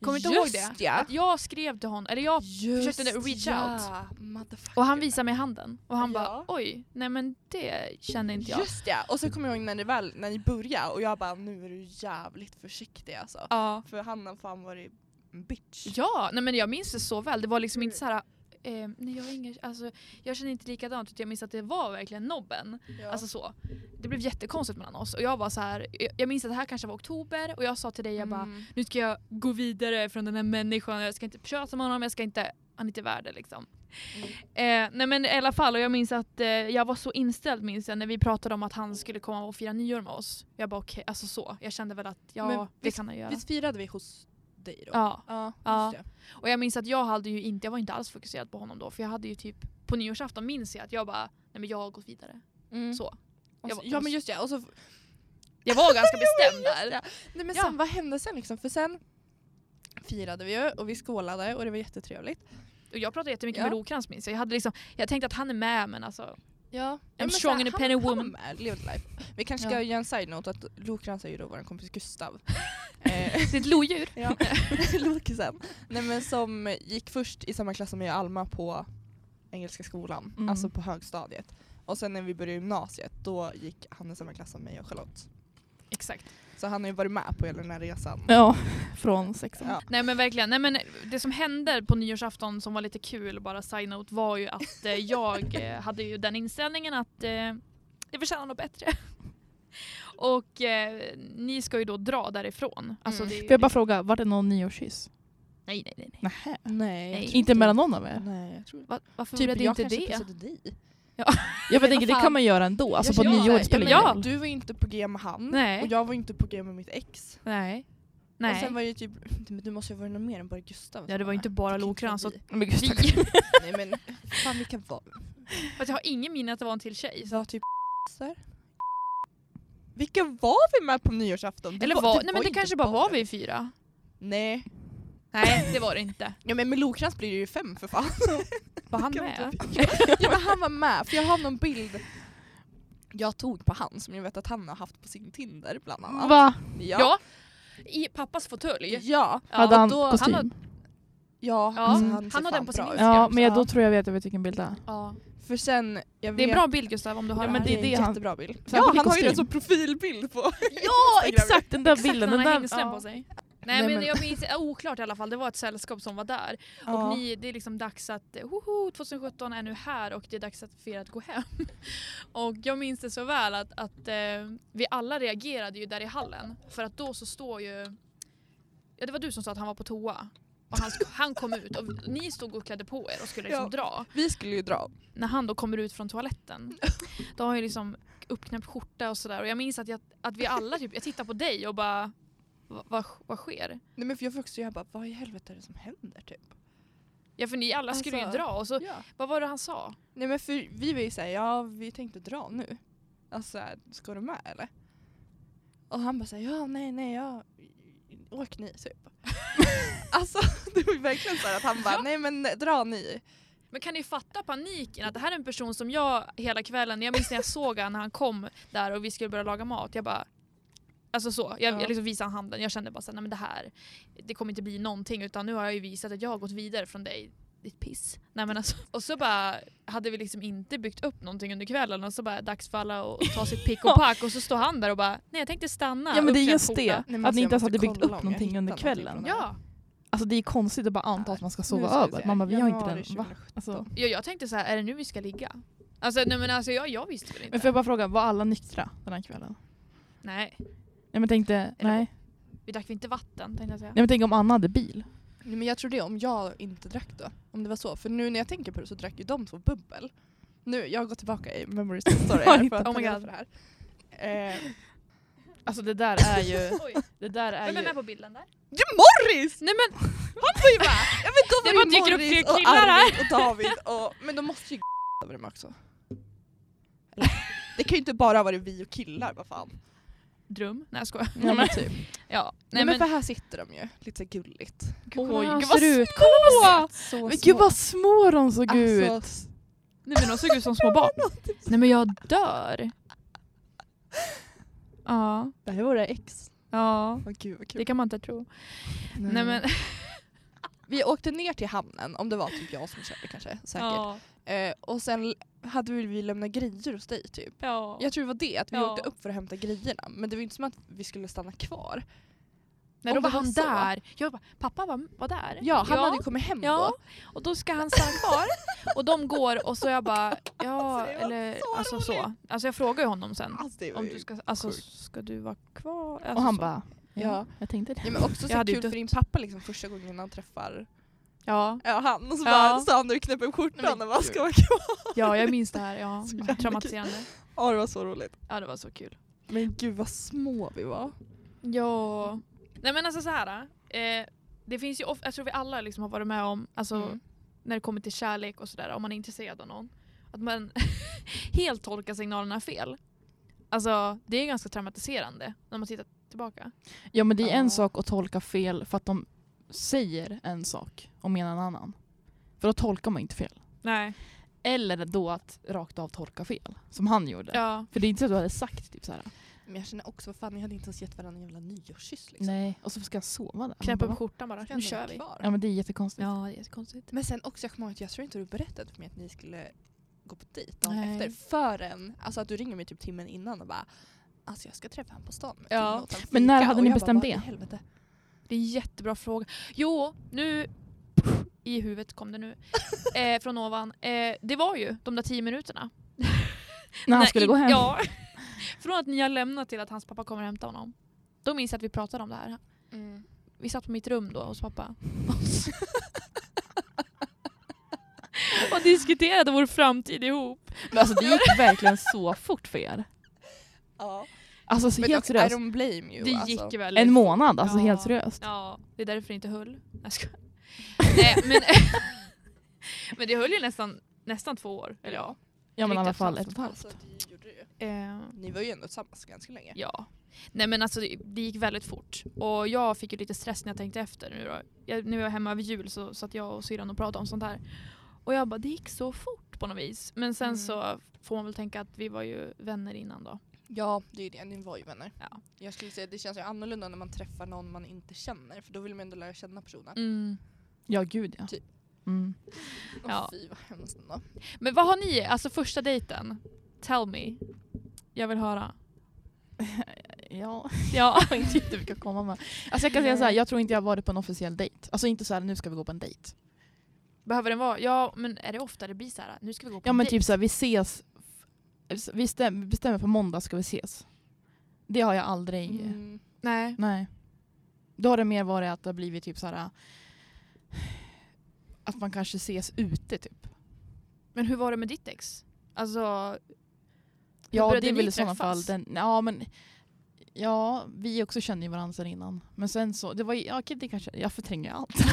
B: Kommer inte ihåg
A: Just
B: det?
A: ja.
B: Att jag skrev till honom, eller jag
A: Just
B: försökte reach
A: ja, motherfucker.
B: och han visade mig handen och han
A: Ja.
B: bara oj, nej men det kände inte jag.
A: Just ja, och så kommer jag ihåg när, det väl, när ni började och jag bara “nu är du jävligt försiktig alltså”.
B: Ja.
A: För han har fan varit en bitch.
B: Ja, nej men jag minns det så väl. Det var liksom
A: Mm.
B: inte så här... Eh, nej, jag, har inga, alltså, jag känner inte likadant utan jag minns att det var verkligen nobben.
A: Ja.
B: Alltså så. Det blev jättekonstigt mellan oss och jag var så här, jag, jag minns att det här kanske var oktober och jag sa till dig jag bara
A: Mm.
B: nu ska jag gå vidare från den här människan, jag ska inte prata med honom, jag ska inte, han är inte värd det liksom.
A: Mm.
B: Eh, nej men i alla fall och jag minns att eh, jag var så inställd minns jag när vi pratade om att han skulle komma och fira nyår med oss. Jag bara okej, alltså så. Jag kände väl att ja,
A: Men
B: det
A: visst-
B: kan han göra.
A: Visst firade vi hos dig då?
B: ja.
A: Ja,
B: Ja.
A: just det.
B: Och jag minns att jag hade ju inte, jag var inte alls fokuserad på honom då för jag hade ju typ på nyårsafton minns jag att jag bara, nej men jag har gått vidare.
A: Mm.
B: Så.
A: Och
B: Jag
A: så-
B: var-
A: ja men just det. Och så,
B: Jag var ganska bestämd där.
A: nej, men
B: Ja.
A: sen, vad hände sen liksom? För sen firade vi ju och vi skålade och det var jättetrevligt.
B: Och jag pratade jättemycket
A: Ja.
B: med Lokrans minns jag. Jag, hade liksom, jag tänkte att han är med men alltså,
A: Ja.
B: I'm strong and independent woman.
A: life. Vi kanske
B: Ja.
A: ska göra en side-note att Lokrans är ju då vår kompis Gustav.
B: det är ett lodjur.
A: Ja, Lokisen. Nej men som gick först i samma klass som jag och Alma på Engelska skolan,
C: Mm.
A: alltså på högstadiet. Och sen när vi började gymnasiet då gick han i samma klass som mig och Charlotte.
B: Exakt.
A: Så han har ju varit med på hela den här resan.
C: Ja, från sexan.
A: Ja.
B: Nej men verkligen, nej men det som hände på nyårsafton som var lite kul bara side-note var ju att eh, jag eh, hade ju den inställningen att eh, jag förtjänar något bättre. Och eh, ni ska ju då dra därifrån. Alltså,
A: Mm.
B: det är ju
C: Får jag bara fråga, var det någon nyårskyss?
B: nej, nej, nej. nej.
C: Nähä.
A: Nej.
B: jag tror
C: Inte mellan någon av er?
A: Nej jag tror inte
B: Va, varför
A: Typ
B: blev det
A: jag
B: inte
A: kanske
B: det?
A: pussade dig.
C: Jag bara tänker,
A: vad
C: det kan
A: fan.
C: man göra ändå. Alltså på
B: Ja,
C: nyår, det
B: ja,
C: spelar
B: men
C: ingen
B: ja.
C: roll.
A: Du var ju inte på G med han
B: Nej.
A: Mm. och jag var inte på G med mitt ex.
B: Nej.
A: Och
B: Nej.
A: sen var det ju typ, men du måste ju ha varit någon mer än bara Gustav. som
B: ja, det var
A: med.
B: inte bara alltså.
A: Det kan
B: Lokrans.
A: vara
B: Och
A: vi.
C: Men
B: vi,
C: gud,
A: Nej men fan vilka var
B: fast jag har ingen minne att det var en till tjej.
A: var typ där. Vilka var vi med på nyårsafton? typ
B: Eller var, nej men det kanske bara var vi fyra.
A: Nej.
B: Nej det var det inte.
A: Ja men med Lokrans blir det ju fem för fan.
B: Var han
A: Kan
B: med?
A: inte- ja men han var med, för jag har någon bild Jag tog på han som jag vet att han har haft på sin Tinder bland annat.
C: Va?
A: Ja.
B: Ja. I pappas fåtölj.
A: Ja.
B: Ja,
C: Hade han
A: och då-
C: kostym?
B: han
A: Ja,
B: Ja,
A: alltså,
C: mm.
A: han, ser
B: han
A: fan
B: har den på sin
A: bra ut.
B: Instagram.
C: ja, men jag,
A: Ja.
C: då tror jag vet över vilken bild det är.
B: Ja.
A: För sen, jag vet...
B: Det är en bra bild Gustav om du har
A: Ja,
B: den
C: Ja,
A: men
B: här.
A: det är det
C: han-
A: jättebra bild.
C: Så han har kostym.
A: profilbild på.
C: Ja, exakt den där
B: Exakt
C: bilden.
B: när
C: Den
B: han har
C: där,
B: hängslen på
C: ja.
B: sig.
A: Nej,
B: Nej, men,
A: men-
B: jag minns, ja, oklart i alla fall, det var ett sällskap som var där. Och ni, det är liksom dags att, eh, hoho, 2017 är nu här och det är dags att- för er att gå hem. och jag minns det så väl att, att eh, vi alla reagerade ju där i hallen. För att då så står ju, ja det var du som sa att han var på toa. Och han, sk- han kom ut och ni stod och klädde på er och skulle liksom
A: Ja.
B: dra.
A: Vi skulle ju dra.
B: När han då kommer ut från toaletten, då har han ju liksom uppknäppt skjorta och sådär. Och jag minns att, jag, att vi alla, typ, jag tittar på dig och bara, "Va- vad vad sker?
A: Nej men för jag fick också, jag bara vad i helvete är det som händer typ?
B: Ja för ni alla skulle
A: Alltså,
B: ju dra och så,
A: Ja.
B: vad var det han sa?
A: Nej men för vi var ju såhär, ja vi tänkte dra nu. Alltså ska du med eller? Och han bara såhär, ja nej nej ja, åk ni typ. alltså det var ju verkligen såhär att han bara, nej men dra ni.
B: Men kan ni fatta paniken? Att det här är en person som jag hela kvällen, jag minns när jag såg han när han kom där och vi skulle börja laga mat, jag bara Alltså så, jag,
A: Ja.
B: jag liksom visade han handen, jag kände bara såhär, nej men det här, det kommer inte bli någonting utan nu har jag ju visat att jag har gått vidare från dig, ditt piss. Nej men alltså, och så bara hade vi liksom inte byggt upp någonting under kvällen och så bara dags för alla att ta sitt pick och pack och så står han där och bara, nej jag tänkte stanna.
C: ja, men det är
B: uppklädd
C: just
B: skjorta.
C: det.
A: Nej, men
C: att
A: alltså,
C: ni
A: jag
C: inte ens hade
A: måste
C: byggt
A: kolla om jag
C: upp någonting
A: hittar
C: under
A: någonting
C: kvällen.
A: från
B: Ja.
C: Alltså det är konstigt att bara anta att man ska sova
A: Nu ska vi
C: över.
A: se.
C: Man bara, vi har inte
A: Januari
C: den. Va?
A: 2017.
C: Alltså.
B: ja. Jag tänkte så här, är det nu vi ska ligga? Alltså nej men alltså jag, jag visste väl inte.
C: Men får jag bara fråga, var alla nyktra den här kvällen?
B: Nej,
C: Nej men tänkte,
B: Eller-
C: nej.
B: vi drack inte vatten tänkte jag säga.
C: Nej men tänk om Anna hade bil.
A: Nej, men jag tror det om jag inte drack då. Om det var så. För nu när jag tänker på det så drack ju de två bubbel. Nu, jag går tillbaka i memories story här för att
B: Oh my
A: planera
B: God.
A: för det här. Eh,
C: Alltså det där är ju...
B: Oj,
C: Det där är
B: vem är
C: ju...
B: med på bilden där?
A: det är Morris!
B: Nej men
A: Ja, men då
B: Det
A: var
B: bara dyker
A: Morris
B: upp fler
A: och
B: killar här.
A: Arvid och David och... Men de måste ju över dem också. Eller? Det kan ju inte bara ha varit vi och killar, vad fan.
B: Drum? Nej jag skojar.
C: Ja, men
A: typ.
B: Ja.
A: Nej men för här sitter de ju, lite så gulligt.
C: Oj,
B: han
C: gud
B: ser
C: vad
B: ut.
C: små!
A: Så
C: Men gud vad små de såg ut!
A: Alltså,
B: Nej men de såg ut som små barn. Nej men jag dör. Ja.
A: det här är våra ex.
B: Ja.
A: Åh gud vad kul.
B: Det kan man inte tro. Nej men
A: Vi åkte ner till hamnen, om det var typ jag som körde kanske. Säkert.
B: ja.
A: Eh, och sen hade vi, vi lämnat grejer hos dig typ.
B: ja.
A: Jag tror det var det, att vi
B: Ja.
A: åkte upp för att hämta grejerna. Men det var ju inte som att vi skulle stanna kvar.
B: Nej, då
A: om
B: var
A: det var
B: han
A: så.
B: där. Jag bara, pappa var, var där.
A: Ja, han hade ju kommit hem
B: Ja,
A: då.
B: och då ska han stanna kvar. Och de går och så jag bara, ja
A: Alltså, det var
B: eller
A: så
B: alltså så.
A: roligt.
B: Alltså jag frågar ju honom sen.
A: Alltså, det var
B: Om
A: ju-
B: du ska, alltså
A: sjukt.
B: ska du vara kvar? Alltså,
C: Och han
B: så.
C: bara, ja,
A: Ja.
C: jag tänkte
A: Ja,
C: det.
A: men också så
B: hade ju
A: kul för
B: dött.
A: din pappa liksom första gången han träffar
B: Ja.
A: ja, han och så
B: Ja.
A: bara sa han när du knäpper upp
B: Nej, men
A: skjortan och bara
B: gud.
A: ska vara kvar.
B: Ja, jag minns det här. Ja. typ.
A: Så jävla
B: Traumatiserande.
A: Ja det var så roligt.
B: Ja, det var så kul.
A: Men gud vad små vi var.
B: Ja. Nej men alltså så här. Eh, det finns ju of- jag tror vi alla liksom har varit med om, alltså
A: Mm.
B: när det kommer till kärlek och sådär, om man är intresserad av någon. Att man helt tolkar signalerna fel. Alltså det är ganska traumatiserande när man tittar tillbaka.
C: Ja men det är en
A: Ja.
C: sak att tolka fel för att de säger en sak och menar en annan. För då tolkar man inte fel.
B: Nej.
C: Eller då att rakt av tolka fel, som han gjorde.
B: Ja.
C: För det är inte så att du hade sagt typ såhär.
A: Men jag känner också, vad fan ni hade inte ens gett varandra en jävla nyårskyss liksom.
C: Nej, och så ska jag sova där.
B: Knäpp
C: Man bara,
B: upp skjortan bara,
A: Ska
B: nu
A: ändå vara
B: kör vi.
A: kvar.
C: Ja men det är jättekonstigt.
B: Ja, det är jättekonstigt.
A: Men sen också, jag kommer ihåg att jag tror inte du berättade för mig att ni skulle gå på dejt dagen
B: Nej.
A: efter. Förrän, alltså att du ringer mig typ timmen innan och bara Alltså jag ska träffa honom på stan. med
B: Ja.
A: Tina och ta en
C: Men när
A: fika."
C: hade
A: Och
C: ni
A: jag bara,
C: bestämt
A: "Vad i
C: det?"
A: helvete?
B: Det är en jättebra fråga. Jo, nu i huvudet kom det nu eh, från ovan. Eh, det var ju de där tio minuterna.
C: När han
B: Nej,
C: skulle
B: i-
C: gå hem.
B: Ja. Från att ni har lämnat till att hans pappa kommer och hämtar honom. Då minns jag att vi pratade om det här. Vi satt på mitt rum då hos pappa. och diskuterade vår framtid ihop.
C: Men alltså det gick verkligen så fort för er.
A: Ja.
C: Alltså så
A: Men
C: helt
A: dock, I
C: seriöst.
A: don't blame you.
B: Det
A: alltså.
B: gick väldigt
C: En månad, alltså
B: liksom- Ja.
C: helt seriöst.
B: Ja, det är därför det inte höll. Jag skojar. Nej, men, men det höll ju nästan, nästan två år. Eller ja.
C: Ja men i alla
B: riktigt
C: fall
B: snabbt.
C: ett och ett halvt.
A: Alltså, det gjorde det ju.
B: Eh,
A: Ni var ju ändå tillsammans ganska länge.
B: ja. Nej men alltså det, det gick väldigt fort. Och jag fick ju lite stress när jag tänkte efter nu då. Jag, när jag var hemma över jul så satt jag och syrran och pratade om sånt här. Och jag bara, det gick så fort på något vis. Men sen
A: Mm.
B: så får man väl tänka att vi var ju vänner innan då.
A: Ja, det är ju det. Ni var ju vänner.
B: Ja.
A: Jag skulle säga att det känns ju annorlunda när man träffar någon man inte känner för då vill man ändå lära känna personen.
C: Mm. Ja, gud ja.
A: Typ.
C: Mm.
A: Åh
B: Ja.
A: Fy vad hemskt ändå.
B: Men vad har ni, alltså första dejten? Tell me. Jag vill höra.
C: Ja,
B: Ja.
C: jag vet inte vilka komma med. Alltså jag kan säga så här, jag tror inte jag har varit på en officiell dejt. Alltså inte så här, nu ska vi gå på en dejt.
B: Behöver den vara, ja men är det ofta det blir så här, nu ska vi gå på
C: Ja
B: en
C: men
B: dejt?
C: typ såhär, vi ses, vi stäm- bestämmer på måndag ska vi ses. Det har jag aldrig,
A: Mm.
B: Nej.
C: nej. Då har det mer varit att det har blivit typ såhär, att man kanske ses ute typ.
B: Men hur var det med ditt ex? Alltså,
C: Ja
B: började
C: det är
B: ni
C: väl i sådana fall
B: träffas?
C: den, ja men, ja vi också kände ju varandra sedan innan. Men sen så, det var ju, ja okej, det kanske, jag förtränger ju allt.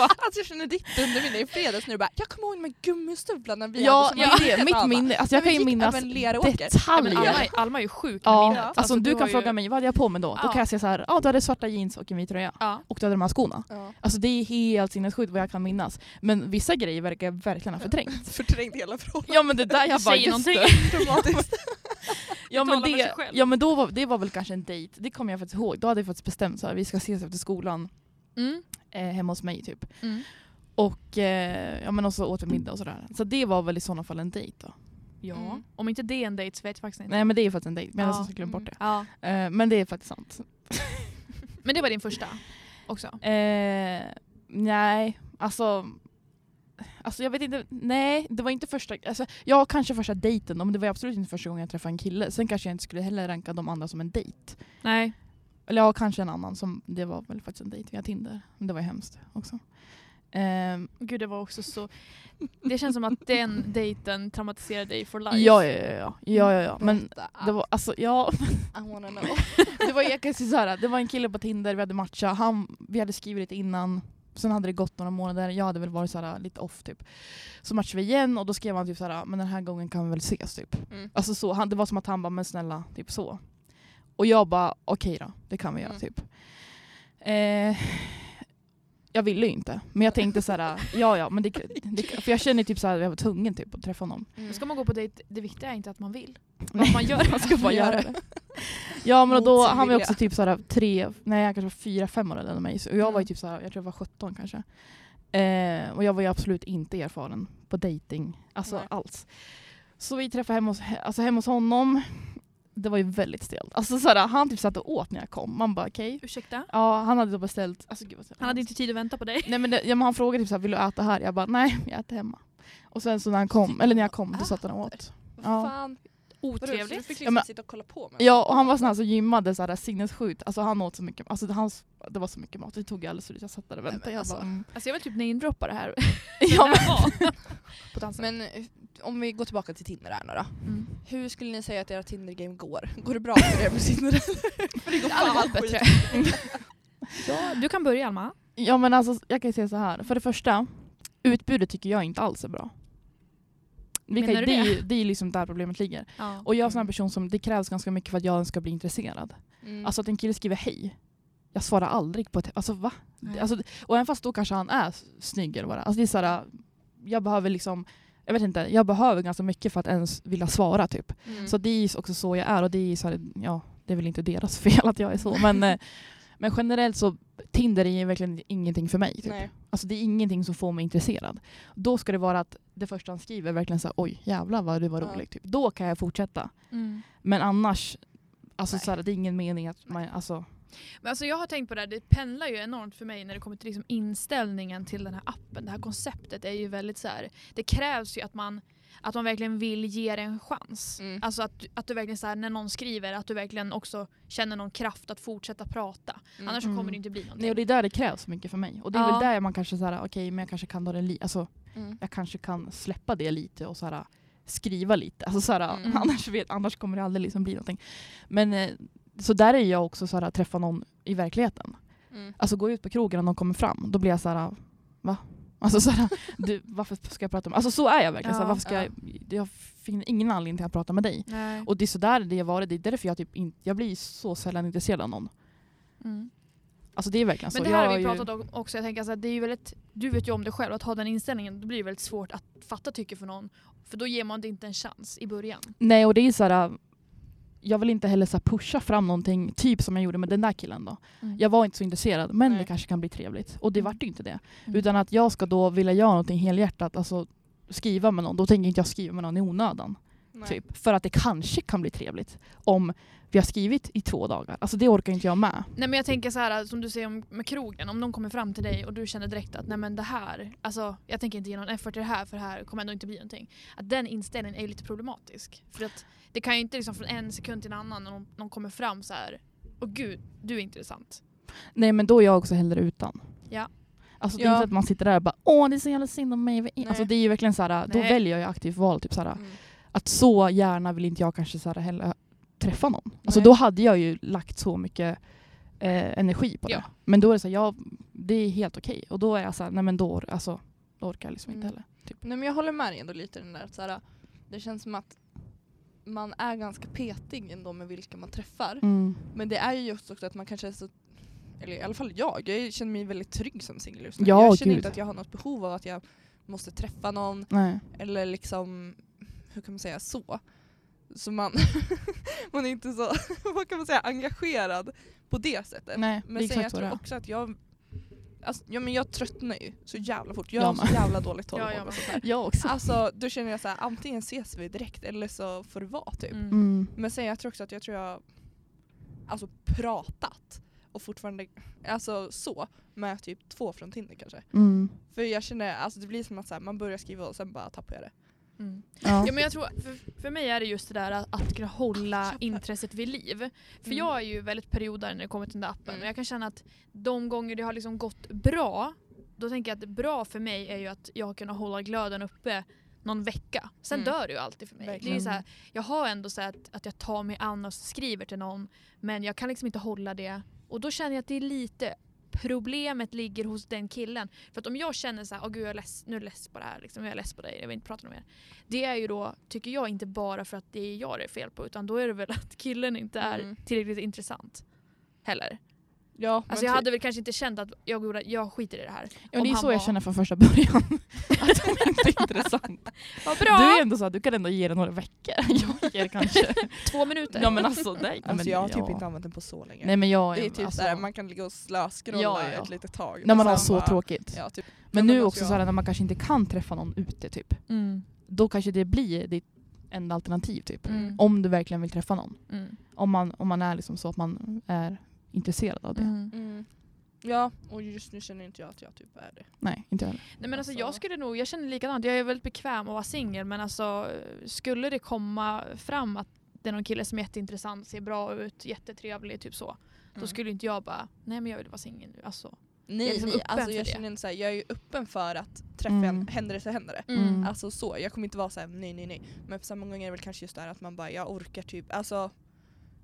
A: Alltså jag känner ditt underminne i fredags när du bara “jag kommer ihåg med gummistövlarna vi
C: ja,
A: hade som
C: ja
A: var
C: det,
A: helt
C: mitt
A: annan."
C: minne, alltså
A: När
C: jag
A: vi
C: kan ju
A: gick
C: minnas
A: över en leråker.
B: ja, men
C: detaljer.
B: Alma, Alma är ju sjuk med
C: Ja,
B: minnet.
C: alltså om du
B: har
C: kan fråga
B: ju,
C: mig vad hade jag på mig då? Då
B: Ja.
C: kan jag säga så här, ja du hade svarta jeans och en vit tröja.
B: Ja.
C: Och du hade de här skorna.
A: Ja.
C: Alltså det är helt sinnessjukt vad jag kan minnas. Men vissa grejer verkar jag verkligen ha förträngt.
A: Förträngt hela frågan.
C: Ja men det där
B: jag bara, Säger just någonting.
A: Traumatiskt.
C: Ja men,
B: Talar med sig
C: det,
B: själv.
C: ja, men då var, det var väl kanske en dejt, det kommer jag faktiskt ihåg. Då hade vi faktiskt bestämt så här, vi ska ses efter skolan
B: Mm.
C: eh, hemma hos mig typ.
B: Mm.
C: Och, eh, ja, men och så åt vi middag och sådär. Så det var väl i sådana fall en dejt då.
B: Ja.
A: Mm.
B: Om inte det är en dejt så vet jag faktiskt inte.
C: Nej men det är ju faktiskt en dejt, men jag
B: Ja,
C: har så glömt bort
A: mm.
C: det.
B: Ja.
C: Eh, men det är faktiskt sant.
B: Men det var din första också?
C: Eh, nej, alltså... Alltså jag vet inte, nej det var inte första, alltså, ja kanske första dejten då, men det var absolut inte första gången jag träffade en kille. Sen kanske jag inte skulle heller ranka de andra som en dejt.
B: Nej.
C: Eller ja, kanske en annan som, det var väl faktiskt en dejt via Tinder. Men det var ju hemskt också. Ehm,
B: Gud det var också så... Det känns som att den dejten traumatiserade dig for life.
C: ja, ja, ja, ja, ja, ja,
A: Mm.
C: ja, men det var alltså, ja.
A: I wanna know.
C: Det var, jag kan säga så här, det var en kille på Tinder, vi hade matchat, han, vi hade skrivit lite innan, sen hade det gått några månader, jag hade väl varit så här, lite off typ. Så matchade vi igen och då skrev han typ så här, men den här gången kan vi väl ses typ.
A: Mm.
C: Alltså så, han, det var som att han bara, men snälla, typ så. Och jag bara, okej då, det kan vi göra
A: Mm.
C: typ. Eh, jag ville ju inte, men jag tänkte så här, ja ja, men det, det, för jag känner typ så här, jag var tvungen typ att träffa honom.
A: Mm.
B: Ska man gå på dejt, det viktiga är inte att man vill.
C: Nej.
B: Att man gör
C: Man ska bara göra det. Ja men och
A: Mot
C: då,
A: sin
C: han var ju
A: vilja.
C: också typ såhär tre, nej jag kanske var fyra, fem år äldre än mig. Så- Och jag
B: Mm.
C: var ju typ såhär, jag tror jag var 17 kanske. Eh, och jag var ju absolut inte erfaren på dating, alltså
A: Nej.
C: alls. Så vi träffade hemma hos, alltså hemma hos honom, det var ju väldigt stelt. Alltså såhär, han typ satt och åt när jag kom, man bara okej.
B: Ursäkta?
C: Ja han hade då beställt, alltså gud vad
B: Han hade inte tid att vänta på dig.
C: Nej men, det, ja, men han frågade typ såhär, vill du äta här? Jag bara nej, jag äter hemma. Och sen så när han
B: Typ.
C: kom, eller när jag
B: Ah.
C: kom, då satt han och åt.
A: Vad
C: Ja.
A: Fan. Vadå, så Du
B: Otrevligt.
A: fick
C: Ja,
A: liksom
C: men-
A: sitta och kolla på mig?
C: Ja, och han var sån här som gymmade så här sinnessjukt. Alltså han åt så mycket, alltså hans, det var så mycket mat. Det tog jag alldeles för lite. Jag satt där och
A: Nej, men
C: väntade. Jag
A: alltså.
C: bara, mm.
B: Alltså jag vill typ namedroppa det här.
C: ja, men,
B: på dansen.
A: Men eh, om vi går tillbaka till Tinder här nu då.
B: Mm.
A: Hur skulle ni säga att era Tinder-game går? Går det bra för er på Tinder? för det går
B: Det hade
A: fan
B: gått
A: allt
B: bättre.
A: bättre.
B: Ja, du kan börja Alma.
C: ja men alltså jag kan ju säga så här. För det första, utbudet tycker jag inte alls är bra. Vi kan,
B: Menar
C: det?
B: du
C: är ju- det är ju liksom där problemet ligger.
B: Ja.
C: Och jag är en sån här person som, det krävs ganska mycket för att jag ens ska bli intresserad.
A: Mm.
C: Alltså att en kille skriver hej. Jag svarar aldrig på ett, alltså va?
B: Nej.
C: Alltså, och även fast då kanske han är s- snygg eller vad det är. Alltså det är så här, jag behöver liksom, jag vet inte, jag behöver ganska mycket för att ens vilja svara typ.
A: mm.
C: Så det är ju också så jag är och det är ju så här, ja, det är väl inte deras fel att jag är så. Men, eh, men generellt så, Tinder är ju verkligen ingenting för mig. Typ.
A: Nej.
C: Alltså det är ingenting som får mig intresserad. Då ska det vara att det första han skriver verkligen så här, oj jävlar vad du var
A: Ja.
C: rolig. Typ. Då kan jag fortsätta.
B: Mm.
C: Men annars, alltså
A: Nej.
C: så här, det är ingen mening att man, alltså,
B: Men alltså jag har tänkt på det här, det pendlar ju enormt för mig när det kommer till liksom inställningen till den här appen. Det här konceptet är ju väldigt så här. det krävs ju att man, att man verkligen vill ge det en chans.
A: Mm.
B: Alltså att, att du verkligen så här, när någon skriver, att du verkligen också känner någon kraft att fortsätta prata.
A: Mm.
B: Annars så kommer
C: Mm.
B: det inte bli någonting.
C: nej, och det är där det krävs mycket för mig. Och det är
B: Ja.
C: väl där man kanske så här, okej men jag kanske kan ta den li- alltså,
A: Mm.
C: jag kanske kan släppa det lite och så här, skriva lite. Alltså, så här,
A: Mm.
C: annars, vet, annars kommer det aldrig liksom bli någonting. Men, eh, så där är jag också, så här, att träffa någon i verkligheten.
A: Mm.
C: Alltså går jag ut på krogen och någon kommer fram, då blir jag så här, va? Alltså så här, du, varför ska jag prata med Alltså så är jag verkligen. så
B: Ja,
C: här, varför ska jag, jag finner ingen anledning till att prata med dig.
B: Nej.
C: Och det är så där det har varit. Det är därför jag, typ inte jag blir så sällan intresserad av någon.
B: Mm.
C: Alltså det är verkligen
B: Men
C: så.
B: det här
C: Jag
B: har vi
C: är ju-
B: pratat om också. Jag tänker alltså att det är ju väldigt, du vet ju om det själv, att ha den inställningen då blir det väldigt svårt att fatta tycke för någon. För då ger man det inte en chans i början.
C: Nej och det är så här. Jag vill inte heller så här pusha fram någonting, typ som jag gjorde med den där killen då. Jag var inte så intresserad, men
A: Nej.
C: det kanske kan bli trevligt. Och det vart ju inte det.
B: Mm.
C: Utan att jag ska då vilja göra någonting helhjärtat, alltså skriva med någon. Då tänker inte jag skriva med någon i onödan. Typ. För att det kanske kan bli trevligt om vi har skrivit i två dagar. Alltså det orkar inte jag med.
B: Nej men jag tänker så här alltså, som du säger om, med krogen, om någon kommer fram till dig och du känner direkt att nej men det här, alltså jag tänker inte ge någon effort i det här för det här kommer ändå inte bli någonting. Att den inställningen är ju lite problematisk. För att det kan ju inte liksom från en sekund till en annan när någon, någon kommer fram så här och gud, du är intressant.
C: Nej men då är jag också hellre utan.
B: Ja.
C: Alltså det
A: Ja.
C: är inte att man sitter där och bara åh det är så jävla synd om mig. Alltså det är ju verkligen så här, då
B: Nej.
C: väljer jag ju aktivt val. Typ så här,
A: Mm.
C: att så gärna vill inte jag kanske så här heller träffa någon. Alltså
A: Nej.
C: då hade jag ju lagt så mycket eh, energi på det.
B: Ja.
C: Men då är det så här, jag, det är helt okej. Och då är jag så här, nej men då, or- alltså, då orkar jag liksom inte
A: Mm.
C: heller. Typ.
A: Nej men jag håller med dig ändå lite i den där att så här, det känns som att man är ganska petig ändå med vilka man träffar.
C: Mm.
A: Men det är ju just också att man kanske är så, eller i alla fall jag, jag känner mig väldigt trygg som singel just nu.
C: Ja,
A: jag känner
C: gud.
A: inte att jag har något behov av att jag måste träffa någon
C: Nej.
A: eller liksom, hur kan man säga så? Så man, man är inte så, vad kan man säga, engagerad på det sättet.
C: nej, det är
A: Men sen jag
C: exakt så det
A: tror
C: är.
A: också att jag Alltså, ja, men jag tröttnar ju så jävla fort. Jag
C: Jag
A: har så
C: med.
A: jävla dåligt tålamod.
B: Ja, jag
A: och sånt där.
C: Jag också.
A: Alltså då känner jag så här, antingen ses vi direkt eller så får det vara typ.
B: Mm.
C: Mm.
A: Men sen jag tror också att jag tror jag alltså pratat och fortfarande alltså så med typ två från Tinder kanske.
C: Mm.
A: För jag känner alltså det blir som att så här, man börjar skriva och sen bara tappar jag det.
B: Mm.
C: Ja.
B: Ja, men jag tror, för, för mig är det just det där att, att kunna hålla intresset vid liv. För
A: Mm.
B: jag är ju väldigt periodare när det kommer till den där appen
A: Mm.
B: och jag kan känna att de gånger det har liksom gått bra, då tänker jag att det bra för mig är ju att jag har kunnat hålla glöden uppe någon vecka. Sen
A: Mm.
B: dör det ju alltid för mig. Det är ju
C: Verkligen.
B: så här, jag har ändå så här att, att jag tar mig an och skriver till någon men jag kan liksom inte hålla det. Och då känner jag att det är lite problemet ligger hos den killen. För att om jag känner så här, åh gud jag är less, nu är jag less på det här, liksom, jag är less på dig, jag vill inte prata om mer. Det är ju då, tycker jag, inte bara för att det är jag det är fel på utan då är det väl att killen inte är
A: Mm.
B: tillräckligt intressant. Heller.
A: Ja,
B: Alltså jag hade väl kanske inte känt att jag, gjorde- jag skiter i det här.
C: Ja,
B: Om
C: det är
B: han
C: så jag
B: var-
C: känner från första början. att hon inte är intressant.
B: Vad
C: Du
B: bra!
C: är ändå så här, du kan ändå ge det några veckor. Jag ger det kanske.
B: Två minuter.
C: ja men alltså, nej. nej, men
A: alltså, jag har
C: ja.
A: typ inte använt den på så länge.
C: Nej men jag
A: det är typ
C: alltså,
A: såhär, man kan ligga och slöskrolla
C: Ja, ja.
A: ett litet tag.
C: När
A: och
C: man har
A: sen
C: så
A: bara-
C: tråkigt.
A: Ja, typ.
C: Men
A: Ja,
C: nu
A: men
C: också
A: alltså
C: så
A: jag-
C: här, när man kanske inte kan träffa någon ute typ.
B: Mm.
C: Då kanske det blir ditt enda alternativ typ.
B: Mm.
C: Om du verkligen vill träffa någon.
B: Mm.
C: Om man, om man är liksom så att man är intresserad av det.
B: Mm.
A: Ja, och just nu känner inte jag att jag typ är det.
C: Nej, inte jag heller.
B: Nej men alltså,
A: Alltså-
B: jag skulle nog, jag känner likadant. Jag är väldigt bekväm att vara singel men alltså skulle det komma fram att det är någon kille som är jätteintressant, ser bra ut, jättetrevlig, typ så. Då
A: Mm.
B: skulle inte jag bara, nej men jag vill vara singel nu. Alltså.
A: Nej,
B: Jag är liksom
A: nej,
B: öppen
A: alltså
B: för
A: jag
B: det.
A: känner inte såhär, jag är ju öppen för att träffa en,
C: Mm.
A: händer det så händer det.
C: Mm.
A: Alltså så, jag kommer inte vara såhär nej nej nej. Men på samma gång är det väl kanske just det här att man bara jag orkar typ, alltså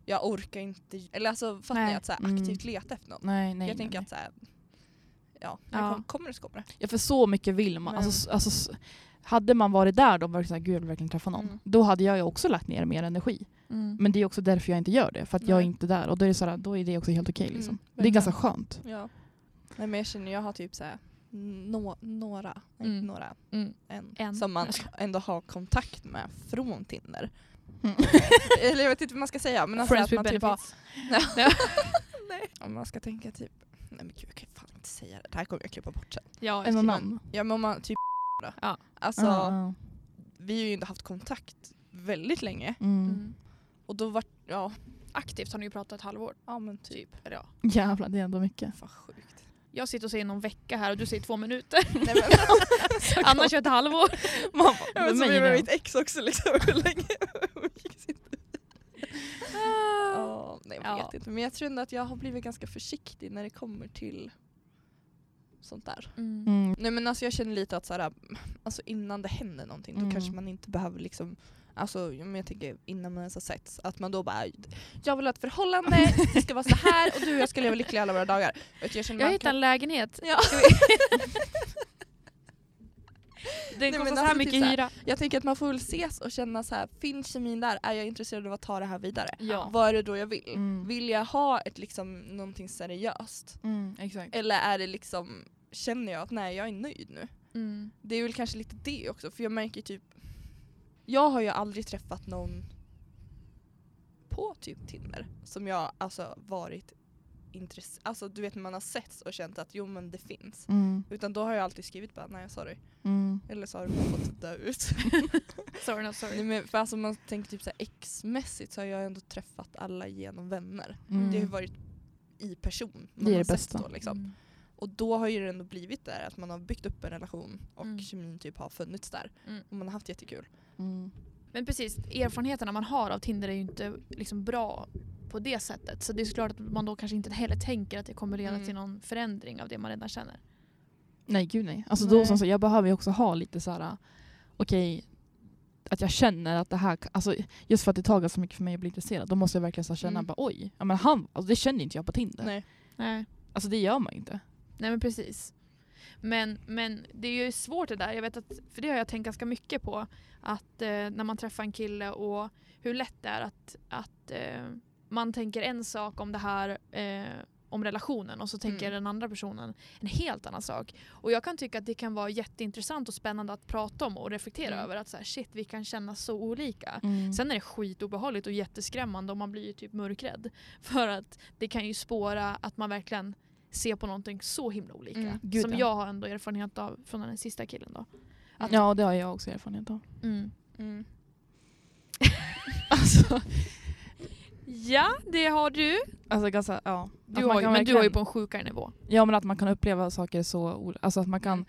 A: jag orkar inte, eller alltså fattar
B: Nej.
A: ni att så här,
C: Mm.
A: aktivt leta efter någon.
C: Nej, nej,
A: jag
C: nej,
A: tänker
C: nej.
A: att såhär, ja,
B: Ja.
A: ja. Kom, kommer det så kommer det.
C: Ja, för så mycket vill man.
A: Men-
C: Alltså, s- alltså, s- hade man varit där då och varit såhär, gud jag vill verkligen träffa någon.
A: Mm.
C: Då hade jag ju också lagt ner mer energi.
B: Mm.
C: Men det är också därför jag inte gör det. För att jag är
A: Nej.
C: inte där. Och då är det, såhär, då är det också helt okej.
A: Mm,
C: liksom. det är
A: verkligen.
C: ganska skönt.
A: Ja. Nej men jag känner jag har typ såhär nå, några, nej,
B: Mm.
A: några,
B: Mm.
A: en,
B: En.
A: som man
B: Jag ska-
A: ändå har kontakt med från Tinder.
C: Mm.
A: eller jag vet inte vad man ska säga men alltså
B: Friends
A: att
B: with
A: man typ har,
B: benefits.
A: om man ska tänka typ, nej men gud jag kan fan inte säga det, det här kommer jag klippa bort sen.
B: Ja,
C: Är någon
B: jag ska-
C: namn?
A: Ja men om man typ då.
B: Ja.
A: Alltså
C: Ja, ja.
A: vi har ju inte haft kontakt väldigt länge.
C: Mm.
B: Mm.
A: Och då vart, ja,
B: Aktivt har ni ju pratat ett halvår.
A: ja men typ.
B: Typ. Eller ja.
C: Jävlar, det är ändå mycket.
A: Fan sjukt.
B: Jag sitter och säger någon vecka här och du säger två minuter.
A: Nej, men,
B: Annars är det ett halvår.
C: Man
A: jag vet, så blev med mitt ex också liksom. Hur länge umgicks inte
B: Ah.
A: Ja, nej, jag
B: Ja.
A: vet inte. Men jag tror ändå att jag har blivit ganska försiktig när det kommer till sånt där.
B: Mm.
C: mm.
A: Nej men alltså jag känner lite att så här, alltså innan det händer någonting då
C: Mm.
A: kanske man inte behöver liksom Alltså ja, men jag tänker innan man ens har setts, att man då bara Jag vill ha ett förhållande, det ska vara så här och du och jag ska leva lyckliga alla våra dagar. Vet du, Jag, känner
B: Jag
A: man
B: hittade
A: kan-
B: en lägenhet.
A: Ja.
B: Ska vi- Den
A: men
B: kostar så
A: alltså
B: här
A: typ
B: mycket
A: så här-
B: hyra.
A: Jag tänker att man får väl ses och känna så här, finns kemin där? Är jag intresserad av att ta det här vidare?
B: Ja.
A: Vad är det då jag vill?
C: Mm.
A: Vill jag ha ett liksom någonting seriöst?
C: Mm, exakt.
A: Eller är det liksom, känner jag att nej jag är nöjd nu?
B: Mm.
A: Det är väl kanske lite det också för jag märker typ Jag har ju aldrig träffat någon på typ Tinder som jag alltså varit intresserad Alltså du vet när man har sett och känt att jo men det finns.
C: Mm,
A: Utan då har jag alltid skrivit bara nej sorry.
C: mm,
A: Eller så har du bara fått dö ut.
B: Sorry not sorry.
A: Nej, men för alltså om man tänker typ så här ex-mässigt så har jag ändå träffat alla genom vänner.
C: mm.
A: Det har ju varit i person. man
C: Det är
A: har
C: det
A: sett
C: bästa.
A: Då, liksom.
B: Mm.
A: Och då har ju det ändå blivit där att man har byggt upp en relation och
B: Mm.
A: kemin typ har funnits där.
B: Mm.
A: Och man har haft jättekul.
C: Mm.
B: Men precis, erfarenheterna man har av Tinder är ju inte liksom bra på det sättet. Så det är såklart att man då kanske inte heller tänker att det kommer leda
A: Mm.
B: till någon förändring av det man redan känner.
C: Nej gud nej. Alltså
A: Nej.
C: då som sagt, jag behöver ju också ha lite så här. okej, att jag känner att det här, alltså just för att det tar så mycket för mig att bli intresserad, då måste jag verkligen så här känna
B: Mm.
C: bara oj, ja, men han, alltså, det känner inte jag på Tinder.
A: Nej.
B: Nej.
C: Alltså det gör man ju inte.
B: Nej men precis. Men, men det är ju svårt det där. Jag vet att, för det har jag tänkt ganska mycket på. Att eh, när man träffar en kille och hur lätt det är att, att eh, man tänker en sak om det här eh, om relationen och så tänker
A: Mm.
B: den andra personen en helt annan sak. Och jag kan tycka att det kan vara jätteintressant och spännande att prata om och reflektera
A: Mm.
B: över att så här, shit vi kan känna så olika.
C: Sen,
B: Sen är det skitobehagligt och jätteskrämmande och man blir ju typ mörkrädd. För att det kan ju spåra att man verkligen ser på någonting så himla olika.
A: Mm,
C: gud,
B: som
C: ja.
B: jag har ändå erfarenhet av från den sista killen då. att-
C: ja det har jag också erfarenhet av.
A: Mm.
C: Alltså,
B: Ja, det har du.
C: alltså ganska, ja. Att
B: du
C: man
B: har ju,
C: kan
B: men du har ju
C: verkligen-
B: på en sjukare nivå.
C: Ja men att man kan uppleva saker så olika, alltså att man kan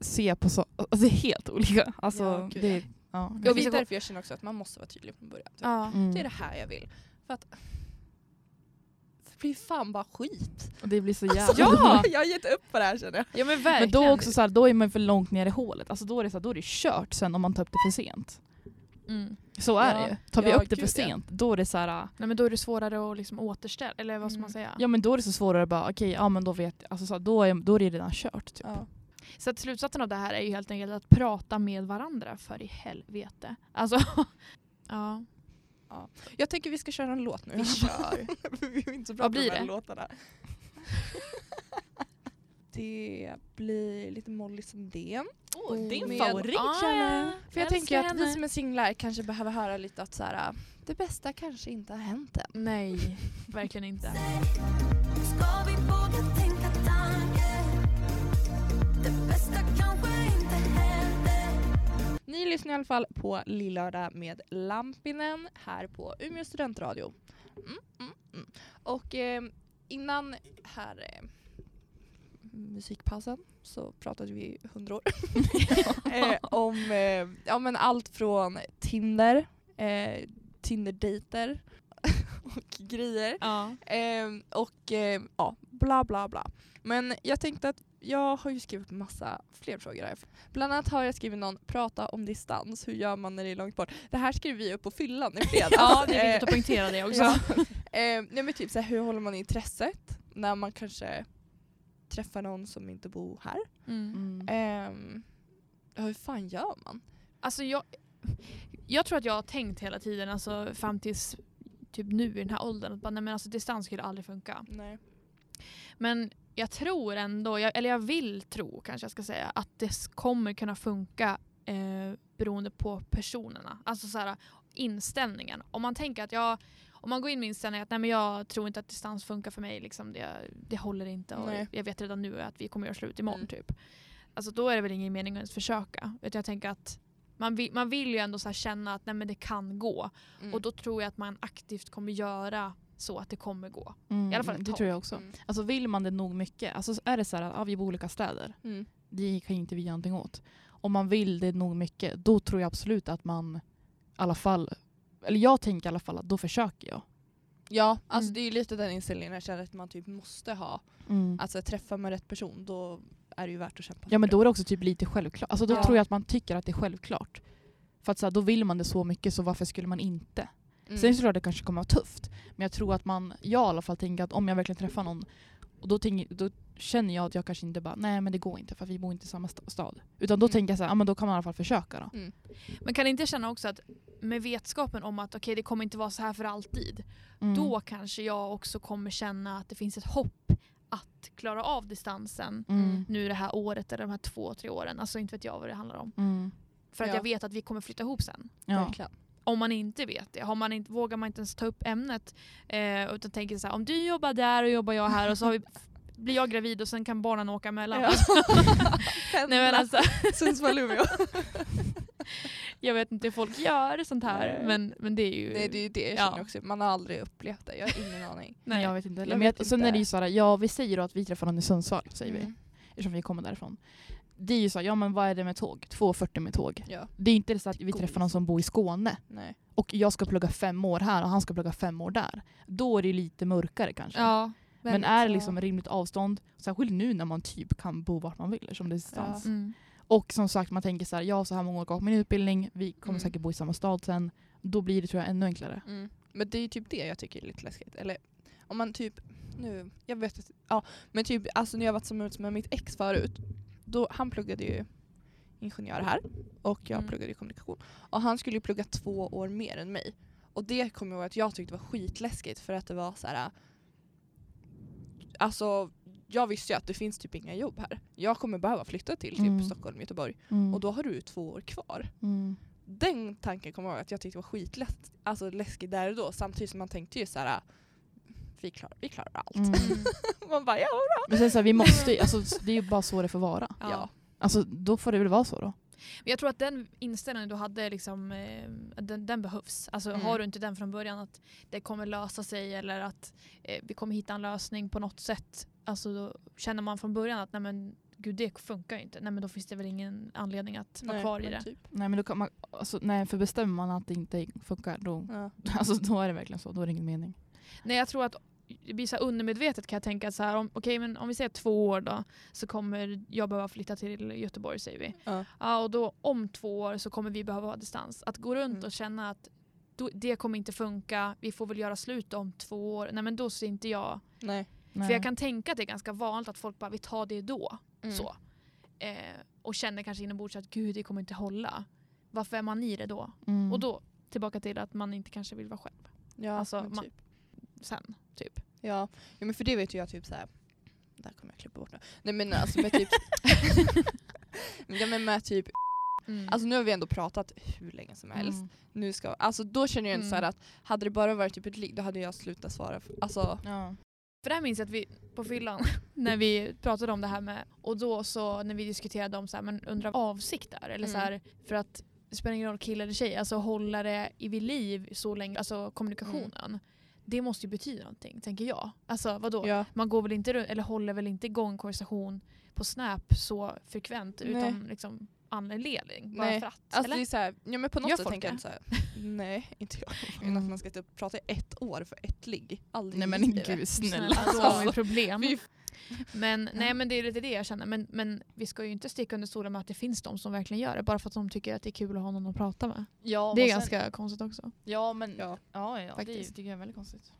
C: se på så, alltså det är helt olika. Alltså
A: Ja, gud,
C: det, ja.
A: Jag
B: vi
A: vet
B: ska gå-
A: därför jag känner också att man måste vara tydlig från början. Typ.
B: Ja.
C: Mm.
A: Det är det här jag vill. För att det blir fan bara skit.
C: Och det blir så jävla...
A: Alltså,
B: Ja!
A: Jag har gett upp på det här känner jag.
B: ja men
C: Men
B: verkligen.
C: då, också så här, då är man för långt ner i hålet. Alltså då, är det så här, då är det kört sen om man tar upp det för sent.
B: Mm.
C: Så är
A: Ja.
C: det ju. Tar vi
A: Ja,
C: upp det
A: gud,
C: för
A: ja.
C: sent, då är det så här,
B: Nej, men då är det svårare att liksom återställa, eller vad ska man
A: Mm.
B: säga?
C: ja men då är det så svårare att bara okej, ja men då vet jag. Alltså så här, då, är, då är det redan kört typ.
A: Ja.
B: Så att slutsatsen av det här är ju helt enkelt att prata med varandra, för i helvete. Alltså, ja.
A: Jag tänker vi ska köra en låt nu.
B: Vi kör.
A: vi är inte så bra
B: Vad
A: på
B: blir
A: de här
B: det?
A: låtarna. det blir lite Molly Sandén.
B: Åh,
A: din
B: favorit, känner jag.
A: Ah, För jag
B: Älskar
A: tänker att
B: henne.
A: vi som är singlar kanske behöver höra lite att så här, äh, det bästa kanske inte har hänt än.
B: Nej, verkligen inte.
D: Ska vi båda tänka tanken? Det bästa kanske inte händer
A: Ni lyssnar i alla fall på Lillördag med Lampinen här på Umeå studentradio. Mm, mm, mm. Och eh, innan här eh, musikpausen så pratade vi hundra år eh, om eh, ja, men allt från Tinder, eh, Tinder-dejter och grejer.
B: Ja.
A: Ehm, och ehm, ja, bla bla bla. Men jag tänkte att jag har ju skrivit massa fler frågor här. Bland annat har jag skrivit någon, prata om distans, hur gör man när det är långt bort? Det här skrev vi upp på fyllan i fredags.
B: ja, det är
C: Eh.
B: viktigt att poängtera det också.
A: Ja. Ehm, nej men typ så här, hur håller man intresset när man kanske träffar någon som inte bor här?
B: Mm.
A: Ehm, ja, hur fan gör man?
B: Alltså jag, jag tror att jag har tänkt hela tiden, alltså fram tills typ nu i den här åldern, att bara, nej, men alltså, distans skulle aldrig funka.
A: Nej.
B: Men jag tror ändå, jag, eller jag vill tro kanske jag ska säga, att det s- kommer kunna funka eh, beroende på personerna. Alltså så här, inställningen. Om man tänker att jag om man går in med inställningen att nej, men jag tror inte att distans funkar för mig, liksom, det, det håller inte och
A: Nej.
B: jag vet redan nu att vi kommer göra slut imorgon.
A: Mm.
B: Typ. Alltså, då är det väl ingen mening att ens försöka. Utan jag tänker att man vill, man vill ju ändå så här känna att nej, men det kan gå.
A: Mm.
B: Och då tror jag att man aktivt kommer göra så att det kommer gå.
C: Mm,
B: I alla fall ett
C: det
B: tag.
C: tror jag också.
A: Mm.
C: Alltså vill man det nog mycket, alltså är det så här att ja, vi bor i olika städer,
A: Mm.
C: det kan ju inte vi göra någonting åt. Om man vill det nog mycket, då tror jag absolut att man i alla fall, eller jag tänker i alla fall att då försöker jag.
A: Ja, alltså
B: Mm.
A: det är ju lite den inställningen jag känner att man typ måste ha.
B: Mm.
A: Alltså träffar man rätt person då är det ju värt att kämpa
C: Ja
A: för
C: men
A: det.
C: då är det också typ lite självklart. Alltså då
A: Ja.
C: tror jag att man tycker att det är självklart. För att så här, då vill man det så mycket så varför skulle man inte?
A: Mm.
C: Sen är det såklart det kanske kommer vara tufft. Men jag tror att man, jag i alla fall tänker att om jag verkligen träffar någon och då, tänker, då känner jag att jag kanske inte bara, nej men det går inte för att vi bor inte i samma sta- stad. Utan
A: Mm.
C: då tänker jag så här, ja men då kan man i alla fall försöka då.
B: Men kan inte känna också att med vetskapen om att okej det kommer inte vara så här för alltid.
C: Mm.
B: Då kanske jag också kommer känna att det finns ett hopp att klara av distansen
C: Mm.
B: nu det här året eller de här två, tre åren. Alltså inte vet jag vad det handlar om.
C: Mm.
B: För att
A: Ja.
B: jag vet att vi kommer flytta ihop sen.
C: Ja.
A: Verkligen.
B: Om man inte vet det. Har man inte, vågar man inte ens ta upp ämnet. Eh, utan tänker så här, om du jobbar där och jobbar jag här och så har vi, blir jag gravid och sen kan barnen åka mellan.
A: Ja.
B: Nej, men alltså,
A: Sundsvall, Umeå.
B: jag vet inte hur folk gör sånt här.
A: Nej.
B: Men, men det är ju...
A: Nej det är ju det jag
B: Ja.
A: känner också. Man har aldrig upplevt det. Jag har ingen aning.
C: Nej.
B: nej.
C: Jag vet inte. heller.
A: Jag
C: men jag,
A: vet
C: Sen
A: inte.
C: är det ju så här, ja vi säger då att vi träffar någon i Sundsvall, säger vi.
A: Mm.
C: Eftersom vi kommer därifrån. Det är ju så här, ja men vad är det med tåg? 2.40 med tåg.
A: Ja.
C: Det är inte så att vi
A: Godis.
C: träffar någon som bor i Skåne
A: Nej.
C: och jag ska plugga fem år här och han ska plugga fem år där. Då är det ju lite mörkare kanske.
B: Ja.
C: Men är det liksom rimligt avstånd, särskilt nu när man typ kan bo vart man vill som distans.
B: Mm.
C: Och som sagt, man tänker så här, jag har så här många år kvar på min utbildning, vi kommer
A: Mm.
C: säkert bo i samma stad sen. Då blir det tror jag ännu enklare.
A: Mm. Men det är ju typ det jag tycker är lite läskigt. Eller om man typ, nu, jag vet att, ja men typ alltså när jag varit tillsammans med mitt ex förut, då, han pluggade ju ingenjör här och jag
B: Mm.
A: pluggade ju kommunikation. Och han skulle ju plugga två år mer än mig. Och det kommer jag ihåg att jag tyckte var skitläskigt för att det var så här. Alltså jag visste ju att det finns typ inga jobb här. Jag kommer behöva flytta till typ
C: Mm.
A: Stockholm, Göteborg.
C: Mm.
A: Och då har du ju två år kvar.
C: mm.
A: Den tanken kommer jag ihåg att jag tyckte var skitläskig alltså läskig där och då samtidigt som man tänkte ju så här. Vi klarar, vi klarar allt.
C: Mm.
A: Man bara ja.
C: Men sen så här, vi måste ju- alltså, det är ju bara så det får vara.
A: ja.
B: Ja.
C: Alltså då får det väl vara så då.
B: Men jag tror att den inställningen du hade, liksom, eh, den, den behövs. Alltså,
A: Mm.
B: Har du inte den från början att det kommer lösa sig eller att eh, vi kommer hitta en lösning på något sätt. Alltså, då känner man från början att nej, men, gud, det funkar ju inte. Nej, men då finns det väl ingen anledning att vara
A: Nej,
B: kvar i
A: men
B: det.
A: Typ.
C: Nej men då kan man, alltså, nej för bestämmer man att det inte funkar då,
A: Ja.
C: alltså, då är det verkligen så, då är det ingen mening.
B: Nej, jag tror att det blir så här undermedvetet kan jag tänka att så här, om, okej, men om vi säger två år då så kommer jag behöva flytta till Göteborg säger vi.
A: Ja.
B: och då om två år så kommer vi behöva ha distans. Att gå runt
A: Mm.
B: och känna att då, det kommer inte funka, vi får väl göra slut om två år. Nej men då ser inte jag.
A: Nej.
C: Nej.
B: För jag kan tänka att det är ganska vanligt att folk bara vi tar det då.
A: Mm.
B: Så. Eh, och känner kanske inombords att gud det kommer inte hålla. Varför är man i det då?
C: Mm.
B: Och då tillbaka till att man inte kanske vill vara själv
A: Ja,
B: Alltså,
A: men
B: man-
A: typ.
B: sen. Typ.
A: ja. ja men för det vet ju jag typ så här. Där kommer jag klippa bort nu. Nej men alltså med typ. ja men med typ.
B: Mm.
A: Alltså nu har vi ändå pratat hur länge som helst.
C: Mm.
A: Nu ska, alltså då känner jag ändå så här
B: Mm.
A: att hade det bara varit typ ett ligg då hade jag slutat svara. För, alltså.
C: Ja.
B: För det här minns jag att vi på fyllan, när vi pratade om det här med, och då så när vi diskuterade om så här, men undrar vad avsikt är eller
A: Mm.
B: så här, för att det spelar ingen roll kille eller tjej, alltså hålla det i vid liv så länge, alltså kommunikationen. Det måste ju betyda någonting, tänker jag. Alltså vadå?
A: Ja.
B: Man går väl inte runt, eller håller väl inte igång en konversation på Snap så frekvent utan liksom anledning, bara
A: Nej.
B: för att.
A: Alltså
B: eller?
A: det är så här, ja men på något
B: Gör
A: sätt
B: folk
A: tänker jag
B: det?
A: inte så här. nej inte jag.
C: Mm.
A: Att man ska typ prata i ett år för ett ligg. Aldrig
C: Nej men
A: i livet.
C: gud snälla.
B: Snälla,
C: Alltså,
B: då Alltså, har vi problem.
A: Vi-
B: Men, nej, men det är lite det jag känner. Men, men vi ska ju inte sticka under stolen med att det finns de som verkligen gör det. Bara för att de tycker att det är kul att ha någon att prata med.
C: Ja,
B: Det är ganska konstigt också.
C: Ja men
A: Ja.
C: ja, ja
A: Faktiskt.
C: det tycker jag är väldigt konstigt.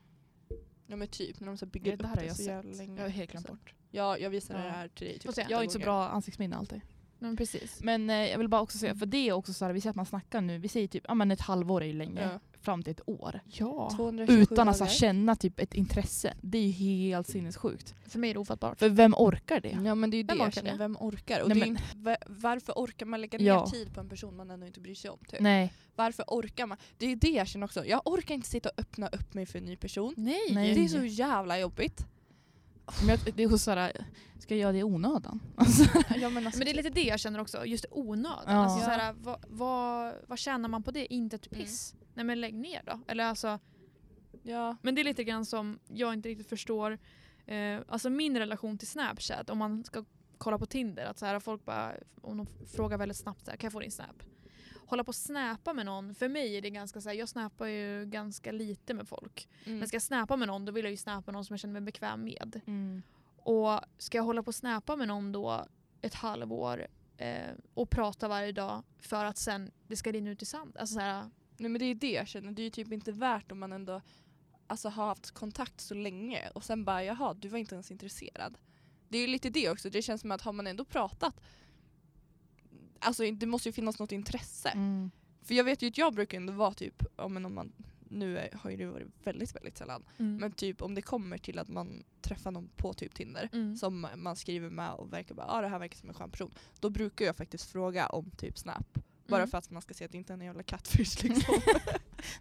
A: Ja men typ när de så här
C: Det,
A: bygger
C: det
A: upp
C: här har
A: det
C: jag
A: så
C: sett.
A: jävla länge.
C: Jag har helt glömt bort.
A: Ja jag visade
C: Ja.
A: det här till dig typ
B: Får se.
A: åtta
C: Jag har inte så
A: gånger.
C: bra ansiktsminne alltid.
B: Men precis.
C: Men eh, jag vill bara också säga, för det är också så här, vi säger att man snackar nu, vi säger typ ja men ett halvår är ju länge,
A: Ja.
C: fram till ett år.
B: Ja.
A: 227
C: Utan att så här,
A: dagar.
C: känna typ ett intresse. Det är ju helt sinnessjukt.
B: För mig är det ofattbart.
C: För vem orkar det?
A: Ja men det är ju det
B: Vem
A: jag
B: orkar
A: känner,
B: det?
A: vem orkar? Och
C: Nej,
A: det är ju en, va- varför orkar man lägga ner
C: Ja.
A: tid på en person man ändå inte bryr sig om? Typ?
C: Nej.
A: Varför orkar man? Det är det jag känner också, jag orkar inte sitta och öppna upp mig för en ny person.
B: Nej.
C: Nej.
A: Det är så jävla jobbigt.
C: Men jag, det är så här, ska jag göra det i onödan? Alltså,
A: Ja, men alltså,
B: Men det är lite det jag känner också. Just onödan.
C: Ja. Mm.
B: Alltså, så här, vad, vad, vad tjänar man på det? Inte ett piss. Nej men lägg ner då. Eller alltså,
A: ja.
B: men det är lite grann som jag inte riktigt förstår. Eh, alltså min relation till Snapchat. Om man ska kolla på Tinder. Att så här, folk bara, om de frågar väldigt snabbt så här, kan jag få din Snap? Hålla på och snäpa med någon. För mig är det ganska så här, jag snappar ju ganska lite med folk. Men
A: Mm.
B: ska jag snäpa med någon då vill jag ju snäpa någon som jag känner mig bekväm med. Och ska jag hålla på och snäpa med någon då ett halvår eh, och prata varje dag för att sen det ska rinna ut i sand. Alltså så här,
A: Nej, men det är det jag känner, det är ju typ inte värt om man ändå alltså, har haft kontakt så länge och sen bara jaha du var inte ens intresserad. det är ju lite det också, det känns som att har man ändå pratat, alltså det måste ju finnas något intresse.
C: Mm.
A: För jag vet ju att jag brukar ändå vara typ, ja, men om man, nu är, har ju det varit väldigt väldigt sällan,
B: Mm.
A: men typ om det kommer till att man träffar någon på typ Tinder
B: Mm.
A: som man skriver med och verkar bara, ah, det här verkar som en skön person. Då brukar jag faktiskt fråga om typ Snap. Bara
B: Mm.
A: för att man ska se att det inte är en jävla catfish liksom.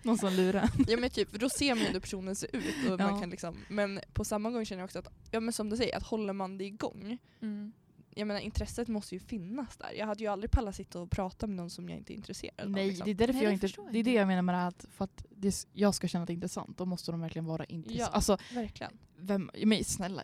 C: Någon som lurar.
A: ja men typ, för då ser man ju hur personen ser ut. Och
C: Ja.
A: man kan liksom, men på samma gång känner jag också att, ja men som du säger, att håller man det igång.
B: Mm.
A: Jag menar intresset måste ju finnas där. Jag hade ju aldrig pallat sitta och prata med någon som jag inte är intresserad av.
C: Nej,
A: liksom.
C: det är därför
B: Nej,
C: jag
B: det
C: inte...
B: förstår jag
C: Det är det
B: inte.
C: jag menar med det här att för att det, s- jag ska känna att det är intressant, då måste de verkligen vara intressanta.
A: Ja.
C: Alltså,
A: Verkligen.
C: vem, men snälla,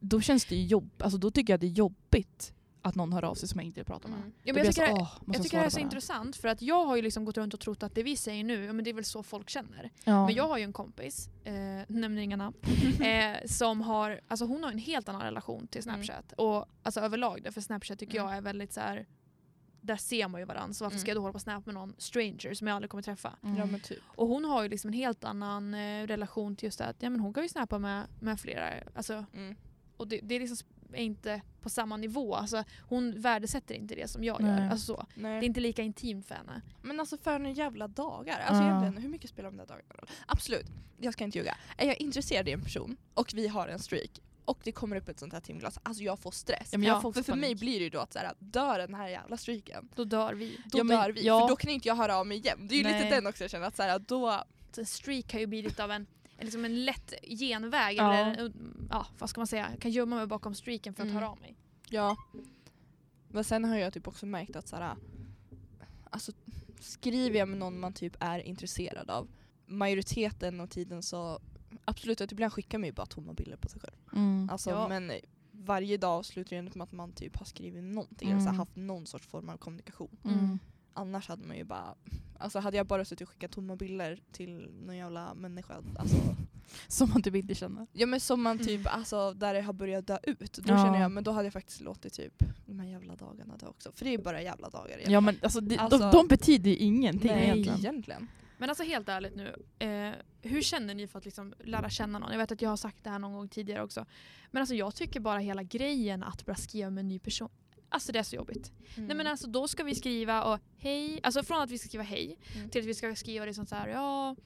C: då känns det ju jobb, alltså då tycker jag det är jobbigt att någon hör av sig som jag inte vill prata med.
B: Mm.
C: Då
B: Ja, men
C: blir
B: jag tycker,
C: så,
B: det-
C: "Åh, måste
B: jag tycker det
C: svara
B: här är
C: på
B: så
C: den här?"
B: intressant för att jag har ju liksom gått runt och trott att det vi säger nu, ja, men det är väl så folk känner.
C: Ja.
B: Men jag har ju en kompis, eh, nämner inga namn, eh, som har, alltså hon har en helt annan relation till
A: Mm.
B: Snapchat. Och alltså överlag det, för Snapchat tycker
C: Mm.
B: jag är väldigt så här. där ser man ju varandra så varför
A: Mm.
B: ska jag då hålla på och snap med någon stranger som jag aldrig kommer träffa?
C: Mm.
A: Ja men typ.
B: Och hon har ju liksom en helt annan eh, relation till just det att ja, men hon kan ju snappa med, med flera. Alltså,
A: Mm.
B: och det, det är liksom sp- är inte på samma nivå. Alltså, hon värdesätter inte det som jag
C: Nej.
B: gör. Alltså, så. Det är
A: Nej.
B: inte lika intimt för henne.
A: Men alltså för några jävla dagar. Alltså
C: Ja.
A: egentligen, hur mycket spelar de där dagarna roll? Absolut, jag ska inte ljuga. Är jag intresserad i en person och vi har en streak och det kommer upp ett sånt här timglas, alltså jag får stress.
C: Ja, men jag
B: Ja,
C: får
A: För,
C: också
A: för mig
C: panik.
A: blir det ju då att så här, dör den här jävla streaken,
B: Då dör vi.
A: då
C: Ja, men-
A: dör vi.
C: ja.
A: För då kan inte jag höra av mig igen. Det är ju
C: Nej.
A: lite den också jag känner att så här, då...
B: Så en streak har ju blivit lite av en, en liksom en lätt genväg.
C: Ja.
B: Eller en- ja, vad ska man säga? Jag kan gömma mig bakom streaken för att
A: Mm.
B: höra av mig.
A: Ja. Men sen har jag typ också märkt att så här, alltså skriver jag med någon man typ är intresserad av, majoriteten av tiden så absolut att ibland skickar man ju bara tomma bilder på sig själv.
C: Mm.
A: Alltså,
B: Ja.
A: Men varje dag slutar ju ändå med att man typ har skrivit någonting,
C: Mm.
A: eller så haft någon sorts form av kommunikation.
C: Mm.
A: Annars hade man ju bara, alltså hade jag bara suttit och skickat tomma bilder till någon jävla människa, alltså,
C: Som man typ inte känner.
A: ja men som man typ,
B: Mm.
A: alltså där det har börjat dö ut, då
C: Ja.
A: känner jag, men då hade jag faktiskt låtit typ de här jävla dagarna dö också. För det är ju bara jävla dagar
C: Ja men alltså, det, de,
A: Alltså-
C: de betyder ju ingenting
A: Nej,
C: egentligen.
A: egentligen.
B: Men alltså helt ärligt nu, eh, hur känner ni för att liksom lära känna någon? Jag vet att jag har sagt det här någon gång tidigare också. Men alltså jag tycker bara hela grejen att börja skriva med en ny person, alltså det är så jobbigt. Nej
A: Mm.
B: men alltså då ska vi skriva och hej, alltså från att vi ska skriva hej
A: Mm.
B: till att vi ska skriva liksom så här ja,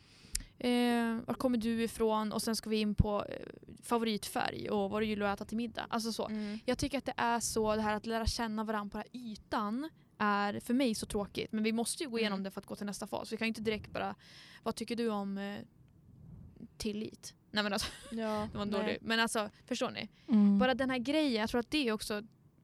B: eh, var kommer du ifrån? Och sen ska vi in på eh, favoritfärg och vad du gillar att äta till middag. Alltså så.
A: Mm.
B: Jag tycker att det är så, det här att lära känna varandra på den här ytan är för mig så tråkigt. Men vi måste ju gå igenom
A: Mm.
B: det för att gå till nästa fas. Vi kan ju inte direkt bara, vad tycker du om eh, tillit? Nej men alltså,
A: Ja,
B: det var en
A: nej.
B: dålig. Men alltså, förstår ni?
C: Mm.
B: Bara den här grejen, jag tror att det är också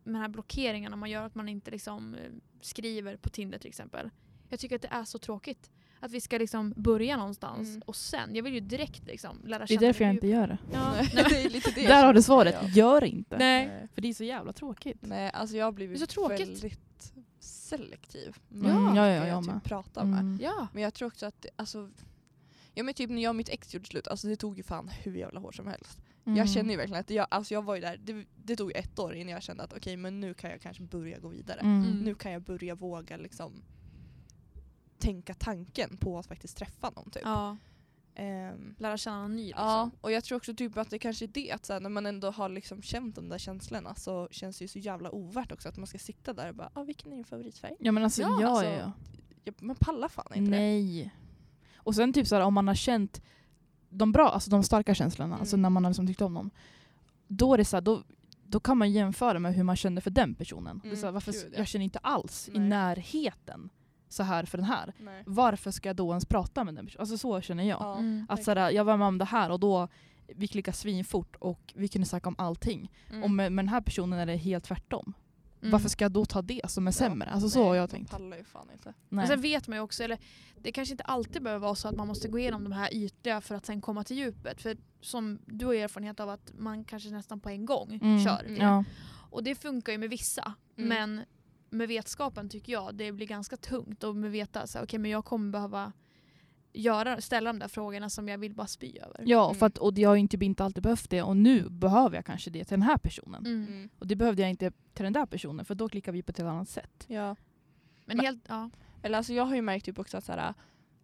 B: med de här blockeringarna man gör att man inte liksom eh, skriver på Tinder till exempel. Jag tycker att det är så tråkigt. Att vi ska liksom börja någonstans
A: Mm.
B: och sen, jag vill ju direkt liksom lära
C: det är
B: känna
C: därför jag
B: mig
C: inte gör det.
B: Ja.
A: Nej, det är lite det jag
C: Där har
A: känner.
C: du svaret,
A: Ja.
C: gör inte.
B: Nej.
A: Nej.
C: För det är så jävla tråkigt.
A: Nej, alltså jag har blivit
B: Det är så tråkigt.
A: väldigt selektiv.
C: Ja,
A: vilka
C: ja, ja, jag
A: jag
C: med.
A: typ pratar med.
C: Mm.
B: Ja.
A: Men jag tror också att, det- alltså, ja men typ när jag och mitt ex gjorde slut, alltså det tog ju fan hur jävla hårt som helst.
C: Mm.
A: Jag känner ju verkligen att jag, alltså jag var ju där, det, det tog ju ett år innan jag kände att okej men nu kan jag kanske börja gå vidare.
C: Mm.
B: Mm.
A: Nu kan jag börja våga liksom tänka tanken på att faktiskt träffa någon typ.
B: ja.
A: Ehm,
B: Lära känna någon ny liksom.
A: Ja, och jag tror också typ att det kanske är det att så här, när man ändå har liksom känt de där känslorna så känns det ju så jävla ovärt också att man ska sitta där och bara ah, “vilken är din favoritfärg?”
C: Ja men alltså, ja,
A: Ja,
C: ja,
A: alltså,
C: ja.
A: ja, Man pallar fan inte det.
C: Nej. Och sen typ så här, om man har känt de bra, alltså de starka känslorna, alltså
A: Mm.
C: när man har liksom tyckt om dem. Då är det så här, då, då kan man jämföra med hur man kände för den personen. det är så här,
A: Mm,
C: varför,
A: gud, ja.
C: Jag känner inte alls i
A: Nej.
C: närheten så här för den här.
A: Nej.
C: Varför ska jag då ens prata med den personen? Alltså så känner jag.
A: Ja,
B: Mm.
C: Att så här, jag var med om det här och då vi klickade svinfort och vi kunde snacka om allting.
A: Mm.
C: Och med, med den här personen är det helt tvärtom.
B: Mm.
C: Varför ska jag då ta det som är sämre? Alltså så
A: Nej,
C: har jag
A: Man
C: tänkt.
A: pallar ju fan inte.
C: Nej.
B: Och sen vet man ju också, eller det kanske inte alltid behöver vara så att man måste gå igenom de här ytliga för att sen komma till djupet. För som du har erfarenhet av att man kanske nästan på en gång
C: Mm.
B: kör.
A: Mm.
B: det.
C: ja.
B: Och det funkar ju med vissa.
A: Mm.
B: Men med vetskapen tycker jag det blir ganska tungt och med veta så här, okej men jag kommer behöva göra, ställa de där frågorna som jag vill bara spy över.
C: Ja,
A: Mm.
C: för att, och jag har ju typ inte alltid behövt det och nu behöver jag kanske det till den här personen.
B: Mm.
A: Mm.
C: Och det behövde jag inte till den där personen för då klickar vi på ett helt annat sätt.
A: Ja.
B: Men helt, ja.
A: Eller alltså jag har ju märkt typ också att så här,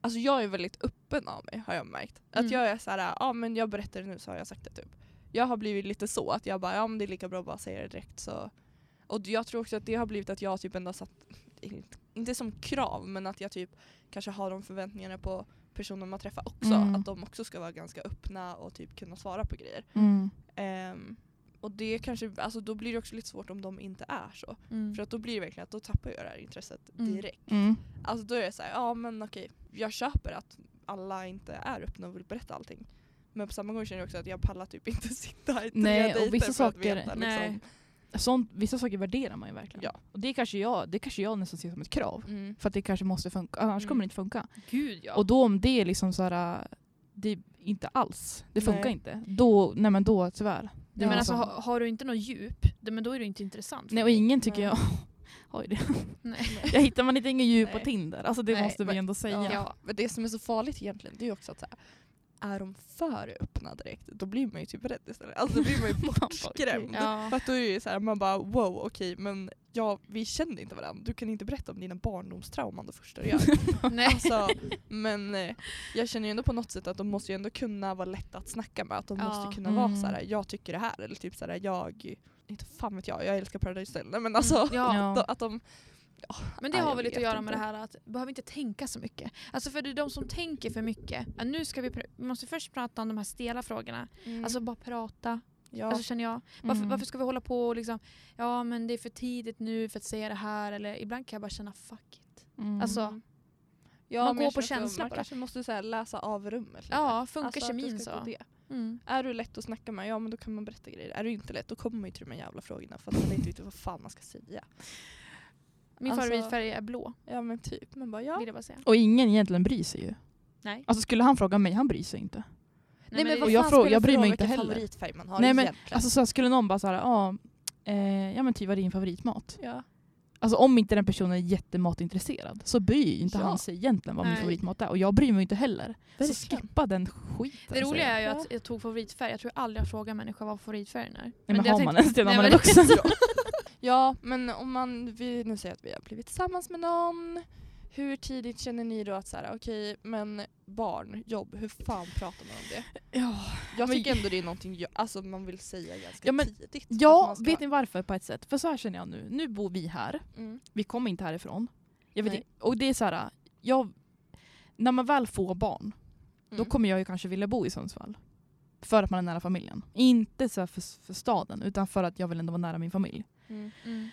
A: alltså jag är väldigt öppen av mig har jag märkt. Att
B: Mm.
A: jag är så här, ja men jag berättar det nu så har jag sagt det typ. jag har blivit lite så att jag bara, ja men det är lika bra att bara säga det direkt så. Och jag tror också att det har blivit att jag typ ändå satt, inte som krav men att jag typ kanske har de förväntningarna på personer man träffar också.
C: Mm.
A: Att de också ska vara ganska öppna och typ kunna svara på grejer.
C: Mm.
A: Ehm, och det kanske, alltså då blir det också lite svårt om de inte är så.
B: Mm.
A: För att då blir det verkligen att då tappar jag det här intresset
B: Mm.
A: direkt.
C: Mm.
A: Alltså då är det så här, ja men okej, jag köper att alla inte är öppna och vill berätta allting. Men på samma gång känner jag också att jag pallar typ inte sitta i tre
C: Nej, och
A: dejter
C: vissa
A: för
C: saker-
A: att veta.
B: nej.
A: Liksom.
C: Sånt, vissa saker värderar man ju verkligen.
A: Ja.
C: Och det kanske, jag, det kanske jag nästan ser som ett krav.
A: Mm.
C: För att det kanske måste funka, annars
A: Mm.
C: kommer det inte funka.
B: Gud ja.
C: Och då om det är liksom såhär, det är inte alls, det funkar
A: Nej.
C: inte. Då, nej men då tyvärr. Det
B: Nej,
C: var
B: men alltså,
C: så.
B: har, har du inte något djup, det- men då är det inte intressant. för
C: nej och
B: dig.
C: ingen tycker
A: Nej.
C: jag, oj det.
B: Nej.
C: Jag hittar man inte ingen djup på
A: Nej.
C: Tinder. Alltså det
B: Nej,
C: måste
A: men-
C: vi ändå säga.
A: Ja. men det som är så farligt egentligen det är ju också att så här, är de för öppna direkt då blir man ju typ rädd istället. Alltså då blir man ju bortskrämd.
B: Ja.
C: Alltså,
A: För att då är det ju så här, man bara wow okej men ja, vi känner inte varandra. Du kan inte berätta om dina barndomstrauman det första du gör.
B: Nej.
A: Alltså, men eh, jag känner ju ändå på något sätt att de måste ju ändå kunna vara lätta att snacka med. Att de
B: Ja.
A: måste ju kunna
C: Mm.
A: vara så här: jag tycker det här. Eller typ så här, jag, inte fan vet jag, jag älskar Paradise Hotel. Nej, men alltså
B: Mm, ja.
A: att, de, att de,
B: Men det
A: Ja,
B: har
A: jag
B: väl lite att
A: vet
B: göra
A: inte.
B: med det här att behöver inte tänka så mycket. Alltså för det är de som tänker för mycket. Ja, nu ska vi, pr- vi måste först prata om de här stela frågorna. Alltså bara prata.
A: Mm. ja.
B: Alltså känner jag. Varför,
C: Mm.
B: varför ska vi hålla på och liksom, ja men det är för tidigt nu för att säga det här. Eller ibland kan jag bara känna fuck it.
C: Mm.
B: Alltså,
A: ja,
B: man
A: men jag
B: går på
A: känner också
B: känsla
A: att
B: bara.
A: Man kanske måste så här, läsa av rummet lite.
B: ja, funkar
A: Alltså, att det
B: kemin
A: ska
B: så?
A: gå det.
B: Mm.
A: Är du lätt att snacka med, ja men då kan man berätta grejer. Är du inte lätt, då kommer man ju till de här jävla frågorna för att man inte vet vad fan man ska säga.
B: Min
A: Alltså-
B: favoritfärg är blå,
A: Ja men typ, man bara ja.
B: vill jag bara säga.
C: Och ingen egentligen bryr sig ju.
B: Nej.
C: Alltså skulle han fråga mig, han bryr sig inte.
A: Nej, men
B: det-
A: vad
C: och jag
A: fan
C: frå-
A: spelar
C: jag
A: det för
C: bryr mig
A: roll
C: inte
A: vilken
C: heller.
A: favoritfärg man har
C: Nej, men,
A: egentligen.
C: Alltså så här, skulle någon bara såhär, ja, eh, ja men typ vad är din favoritmat?
A: ja.
C: Alltså om inte den personen är jättematintresserad så bryr ju inte
A: Ja.
C: han sig egentligen vad min
B: Nej.
C: favoritmat är. Och jag bryr mig inte heller. Så
A: Verkligen.
C: skippa den skiten.
B: det roliga
C: säger
B: är
C: jag.
B: ju att jag tog favoritfärg. Jag tror aldrig jag frågar människor vad favoritfärgen är. Men,
C: Nej, men
B: det jag
C: har man ens det när
B: Nej,
C: man är
B: men-
C: vuxen?
A: Ja, men om man, vi nu säger att vi har blivit tillsammans med någon. Hur tidigt känner ni då att så här, okej, men barn, jobb, hur fan pratar man om det?
C: ja.
A: Jag
C: Men-
A: tycker ändå det är någonting jag, alltså man vill säga ganska
C: Ja, men-
A: tidigt. att
C: ja
A: man ska-
C: vet ni varför på ett sätt? För så här känner jag nu. Nu bor vi här.
A: Mm.
C: Vi kommer inte härifrån. Jag vet
A: Nej.
C: inte, och det är så här, jag, när man väl får barn, då
A: Mm.
C: kommer jag ju kanske vilja bo i Sundsvall. För att man är nära familjen. Inte så här för, för staden, utan för att jag vill ändå vara nära min familj.
A: Mm.
B: tänkte- Mm.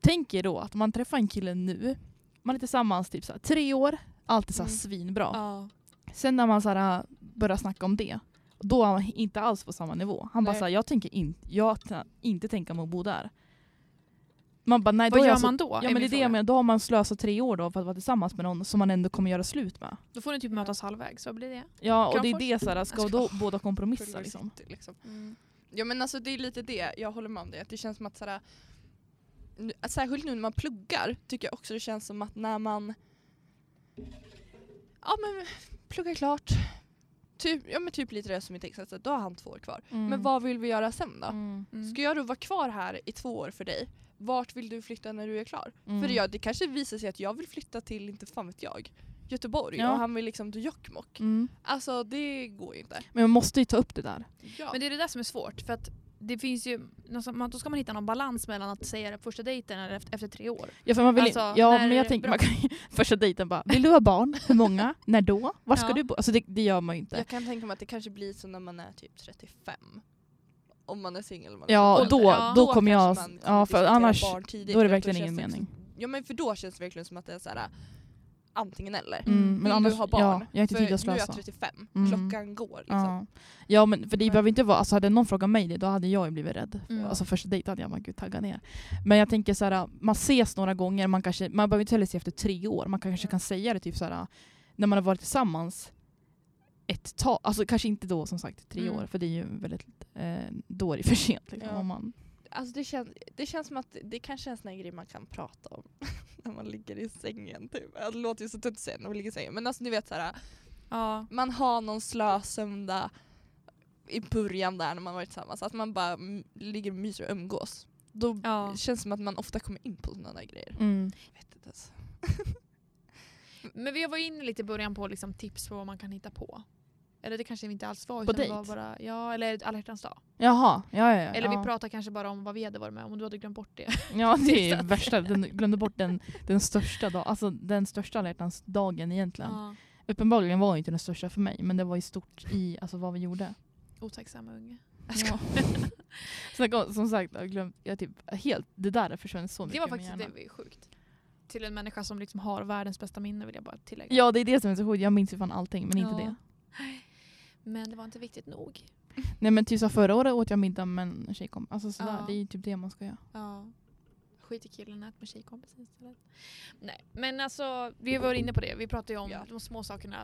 C: Tänk er då att man träffar en kille nu, man är tillsammans typ så här, tre år, allt är så här
A: Mm.
C: svinbra.
B: Ja.
C: Sen när man så här, äh, börjar snacka om det, då är han inte alls på samma nivå. Han bara
A: Nej.
C: såhär, jag tänker in, jag t- inte tänka mig att bo där. Man bara, nej då
B: Vad
C: är
B: gör
C: jag så,
B: man då?
C: Ja men det är det jag menar, då har man slösat tre år då för att vara tillsammans med någon som man ändå kommer göra slut med.
B: Då får ni typ mötas halvvägs, vad blir det?
C: Ja och det är
B: Kramfors?
C: det såhär, ska
B: Alltså,
C: då båda kompromissa liksom?
A: City, liksom. Ja men alltså det är lite det, jag håller med om det. Att det känns som att sådär, nu- att särskilt nu när man pluggar tycker jag också det känns som att när man ja men pluggar klart, typ, ja, men typ lite det som i texten, så då har han två år kvar.
C: Mm.
A: Men vad vill vi göra sen då?
B: Mm.
A: Ska jag då vara kvar här i två år för dig? Vart vill du flytta när du är klar?
C: Mm.
A: För ja, det kanske visar sig att jag vill flytta till, inte fan vet jag, Göteborg
C: Ja.
A: och han vill liksom till Jokkmokk.
C: Mm.
A: Alltså det går ju inte.
C: Men man måste ju ta upp det där.
A: Ja.
B: Men det är det där som är svårt för att det finns ju, någonstans- man- då ska man hitta någon balans mellan att säga det på första dejten eller efter, efter tre år.
C: Ja, för man vill
B: Alltså,
C: ja
B: när
C: men
B: är
C: jag
B: det
C: tänker,
B: bra?
C: man kan, ju- första dejten bara, vill du ha barn? Hur många? När då? Var ska
B: Ja.
C: du bo? Alltså det, det gör man ju inte.
A: Jag kan tänka mig att det kanske blir så när man är typ 35. Om man är singel. om man är
C: Ja och
A: singel.
C: då,
B: Ja.
C: då kommer jag,
A: kanske man kommer
C: ja för
A: diskutera
C: annars,
A: barn tidigt,
C: då är det
A: för att
C: verkligen ingen
A: känns det
C: mening.
A: också- Ja men för då känns det verkligen som att det är så här antingen eller.
C: Mm, men
A: Vill
C: annars,
A: du ha barn?
C: ja, jag har inte
A: för
C: tid att
A: nu är jag
C: slösa.
A: 35,
C: Mm.
A: klockan går liksom.
C: Ja. ja men för det
A: Men-
C: behöver inte vara, alltså hade någon frågat mig det då hade jag ju blivit rädd.
B: Mm.
C: Alltså första dejten hade jag bara gud tagga ner. Men jag tänker så här, man ses några gånger, man, kanske, man behöver inte heller se efter tre år, man kanske kan säga det typ så här när man har varit tillsammans ett tag, alltså kanske inte då som sagt tre
B: Mm.
C: år för det är ju väldigt, eh, då är det för sent liksom,
A: Ja.
C: om man
A: Alltså det, kän, det känns som att det kanske är en sån här grej man kan prata om när man ligger i sängen. Typ. Det låter ju så tunt att säga när man ligger i sängen men alltså ni vet så här,
B: Ja.
A: man har någon slö söndag i början där när man varit tillsammans, att man bara mm, ligger och myser och umgås. Då
B: Ja.
A: känns det som att man ofta kommer in på sådana där grejer.
B: Mm.
A: Jag vet inte ens.
B: Men vi var inne lite i början på liksom tips på vad man kan hitta på. Eller det kanske vi inte alls var.
C: På
B: utan det var
C: dejt?
B: bara, ja, eller alla hjärtans dag.
C: Jaha, ja ja ja.
B: Eller
C: ja.
B: vi pratar kanske bara om vad vi hade varit med om och du hade glömt bort det.
C: Ja det är ju värsta, den glömde bort den, den största dag, alltså den största alla hjärtans dagen egentligen.
B: Ja.
C: Uppenbarligen var ju inte den största för mig men det var ju stort i alltså, vad vi gjorde.
B: Otacksamma unge.
C: Ja. Snacka om- som sagt, jag har glömt, jag typ, helt, det där försvann så mycket
B: Det var
C: ur min
B: faktiskt typ-
C: hjärna.
B: det är sjukt. Till en människa som liksom har världens bästa minne vill jag bara tillägga.
C: Ja det är det som är så sjukt, jag minns ju fan allting men
B: Ja.
C: inte det.
B: Men det var inte viktigt nog.
C: Nej men typ så förra året åt jag middag med en tjejkompis. Alltså sådär,
B: Ja.
C: det är ju typ det man ska göra.
B: Ja. Skit i killen, ät med tjejkompisen istället. Nej, men alltså vi var inne på det. Vi pratade ju om
A: Ja.
B: de små sakerna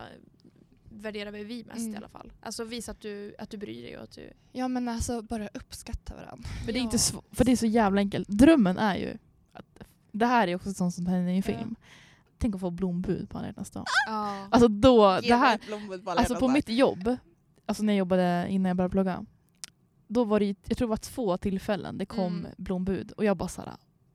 B: värderar väl vi mest
A: Mm.
B: i alla fall. Alltså visa att du, att du bryr dig och att du...
A: Ja men alltså bara uppskatta varandra.
C: För, det är
B: Ja.
C: inte sv- för det är så jävla enkelt. Drömmen är ju att det här är också sånt som händer i en
A: Ja.
C: film. Tänk att få blombud på alla hjärtans dag.
B: Ja.
C: Alltså då, det här,
A: Blombud
C: alltså på mitt jobb, alltså när jag jobbade innan jag började plugga, då var det ju, jag tror det var två tillfällen det kom
B: Mm.
C: blombud och jag bara såhär,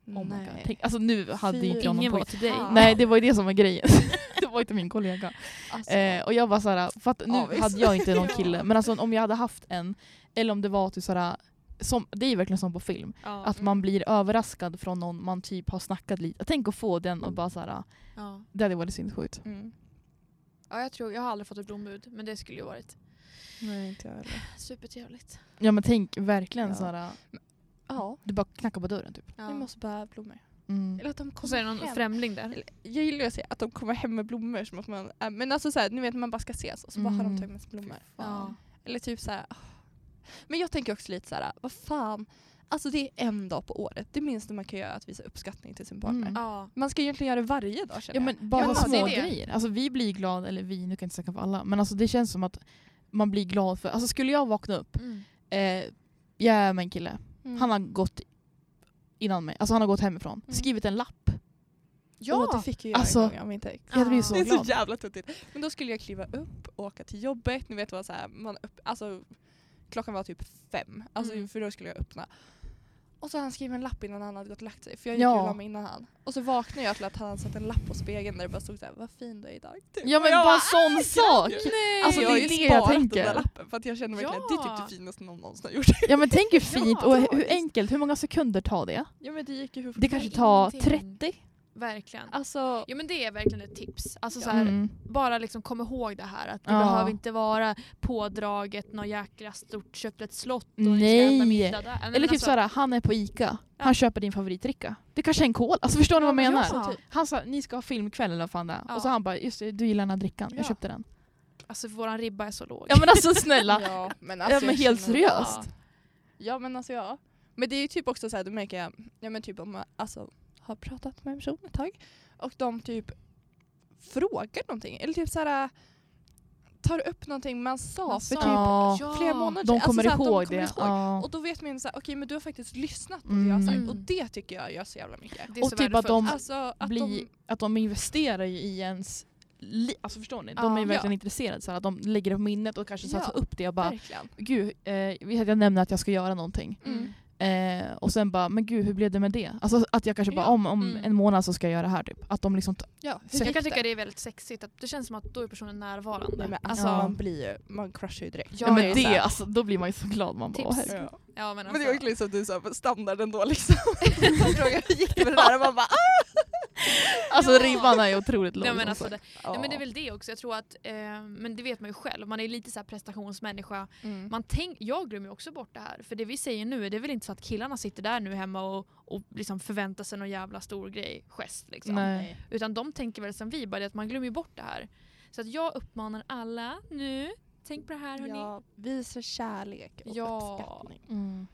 C: oh my god. Tänk, alltså nu hade
A: Fy.
C: inte jag någon
B: Ingen Alltså, var till
C: poäng.
B: dig.
A: Ja.
C: Nej det var ju det som var grejen. det var inte min kollega.
A: Alltså,
C: Eh, och jag var såhär, för att nu
A: Avis.
C: hade jag inte någon
A: Ja.
C: kille, men alltså om jag hade haft en, eller om det var typ såhär, som, det är ju verkligen som på film,
B: Ja.
C: att man blir överraskad från någon man typ har snackat lite. Tänk att få den och bara såhär,
B: Ja.
C: det hade varit sinnessjukt.
A: mm.
B: ja, jag tror, jag har aldrig fått ett blombud men det skulle ju varit
A: Nej inte jag heller.
B: supertrevligt.
C: Ja men tänk verkligen
A: Ja.
C: såhär,
A: Ja,
C: du bara knackar på dörren typ.
B: Ja.
A: vi måste bara ha blommor.
C: Mm.
A: Eller att de
B: Och så är
A: kommer
B: det någon
A: hem.
B: främling där.
A: Jag gillar ju att säga att de kommer hem med blommor. Som att man, äh, men alltså såhär, ni vet man bara ska ses och så bara har de
C: Mm.
A: tagit med sig blommor.
B: Ja.
A: Eller typ såhär. ah. Men jag tänker också lite såhär, vad fan. Alltså det är en dag på året. Det minsta man kan göra är att visa uppskattning till sin partner.
C: Mm.
B: Ja.
A: Man ska egentligen göra det varje dag känner
C: Ja
A: jag.
C: men bara
B: Men ja, det
C: små
B: är det.
C: grejer. Alltså vi blir glada, eller vi, nu kan jag inte snacka för alla, men alltså det känns som att man blir glad för, alltså skulle jag vakna upp,
B: Mm.
C: eh, jag är med en kille,
A: Mm.
C: han har gått innan mig, alltså han har gått hemifrån,
A: Mm.
C: skrivit en lapp.
A: Ja! det fick ju jag
C: Alltså,
A: en gång av min text.
C: Jag hade blivit
B: Ah.
C: så
A: Det är så
C: glad.
A: jävla tuttigt. Men då skulle jag kliva upp, åka till jobbet. Ni vet vad så här, man upp, alltså, klockan var typ fem, alltså,
B: Mm.
A: för då skulle jag öppna. Och så hade han skrivit en lapp innan han hade gått och lagt sig. För jag gick
C: Ja.
A: ju och la mig innan han. Och så vaknade jag till att han hade satt en lapp på spegeln där det bara stod såhär “Vad fin du är idag”. Typ.
C: Ja men
A: Och jag
C: bara en sån sak!
B: Nej!
C: Alltså,
A: jag
C: det
A: har
C: är
A: ju
C: det jag
A: sparat
C: tänker.
A: den där lappen för att jag känner verkligen att det är
B: Ja.
A: typ det finaste någon någonsin har gjort.
C: Ja men tänk hur fint
B: Ja,
C: och hur
A: tragiskt.
C: enkelt, hur många sekunder tar det?
A: Ja men det gick ju hur
C: Det
B: är
C: kanske tar
B: ingenting.
C: 30?
B: Verkligen.
A: Alltså,
B: Jo men det är verkligen ett tips. Alltså,
A: Ja.
B: så här,
C: Mm.
B: bara liksom kom ihåg det här att det
C: Ja.
B: behöver inte vara pådraget något jäkla stort köpt ett slott och ni ska
C: Nej.
B: äta middag där. Nej, men
C: Eller typ
B: alltså,
C: såhär, han är på Ica, han köper din favoritdricka. Det kanske är en kol, alltså förstår ni vad jag
B: men
C: menar?
B: ja.
A: typ.
C: Han sa, ni ska ha filmkväll eller vad fan det är.
B: Ja.
C: Och så han bara, just det, du gillar den här drickan, jag
A: Ja.
C: köpte den.
B: Alltså våran ribba är så låg.
C: Ja men alltså snälla!
A: ja, men, alltså,
C: Ja, men
A: jag
C: helt
A: känner-
C: seriöst.
B: Ja.
A: Ja men alltså ja. Men det är ju typ också så här, då märker jag, ja men typ om man alltså, har pratat med en person ett tag och de typ frågar någonting eller typ så här äh, tar upp någonting man sa
B: Man
A: för
B: sa-
A: typ
C: Ja,
B: Ja.
A: flera månader
C: de
A: Alltså
C: kommer
A: så här,
C: ihåg
A: kommer
C: det. Ja.
A: Och då vet man ju såhär, okej men du har faktiskt lyssnat på det jag har
C: Mm.
A: sagt
B: Mm.
A: och det tycker jag gör så jävla mycket.
B: Det är
C: Och
B: så
C: typ att de-
B: värdefullt.
A: Alltså att
C: bli,
A: de,
C: att de investerar ju i ens liv. Alltså förstår ni? De
B: Ja.
C: är ju verkligen intresserade. Så här, att de lägger det på minnet och kanske så här,
A: Ja.
C: tar upp det och bara
A: verkligen.
C: Gud, eh, jag nämner att jag ska göra någonting.
B: Mm.
C: Eh, och sen bara, men gud hur blev det med det? Alltså att jag kanske
A: Ja.
C: bara, om, om
B: Mm.
C: en månad så ska jag göra det här typ. Att de liksom, t-
A: Ja, hur
B: Alltså, Jag
A: gick
B: kan tycka det är väldigt sexigt att det känns som att då är personen närvarande.
A: Nej, men alltså
C: Ja.
A: man blir ju, man crushar ju direkt.
B: Ja,
C: ja,
B: jag
C: men
B: är Typ
C: det,
B: så här-
C: alltså, då blir man ju så glad. Man bara,
B: Tips.
C: "Åh, herregud."
A: Ja.
B: Ja, men
A: Men det
B: alltså,
A: är verkligen som du sa, standarden då liksom. Han frågar hur gick det med det där och man bara "Ah!"
C: Alltså
B: Ja.
C: ribban är ju otroligt låg.
B: Nej, men
C: alltså.
B: alltså det,
A: ah!
B: nej, men det är väl det också. Jag tror att, eh, men det vet man ju själv, man är lite så här prestationsmänniska.
A: Mm.
B: Man tänk, jag glömmer ju också bort det här. För det vi säger nu, det är väl inte så att killarna sitter där nu hemma och, och liksom förväntar sig någon jävla stor grej, gest liksom.
C: Nej.
B: Utan de tänker väl som vi, bara det att man glömmer ju bort det här. Så att jag uppmanar alla nu, tänk på det här hörni.
A: Ja, visa kärlek och
B: Ja.
A: uppskattning.
C: Mm.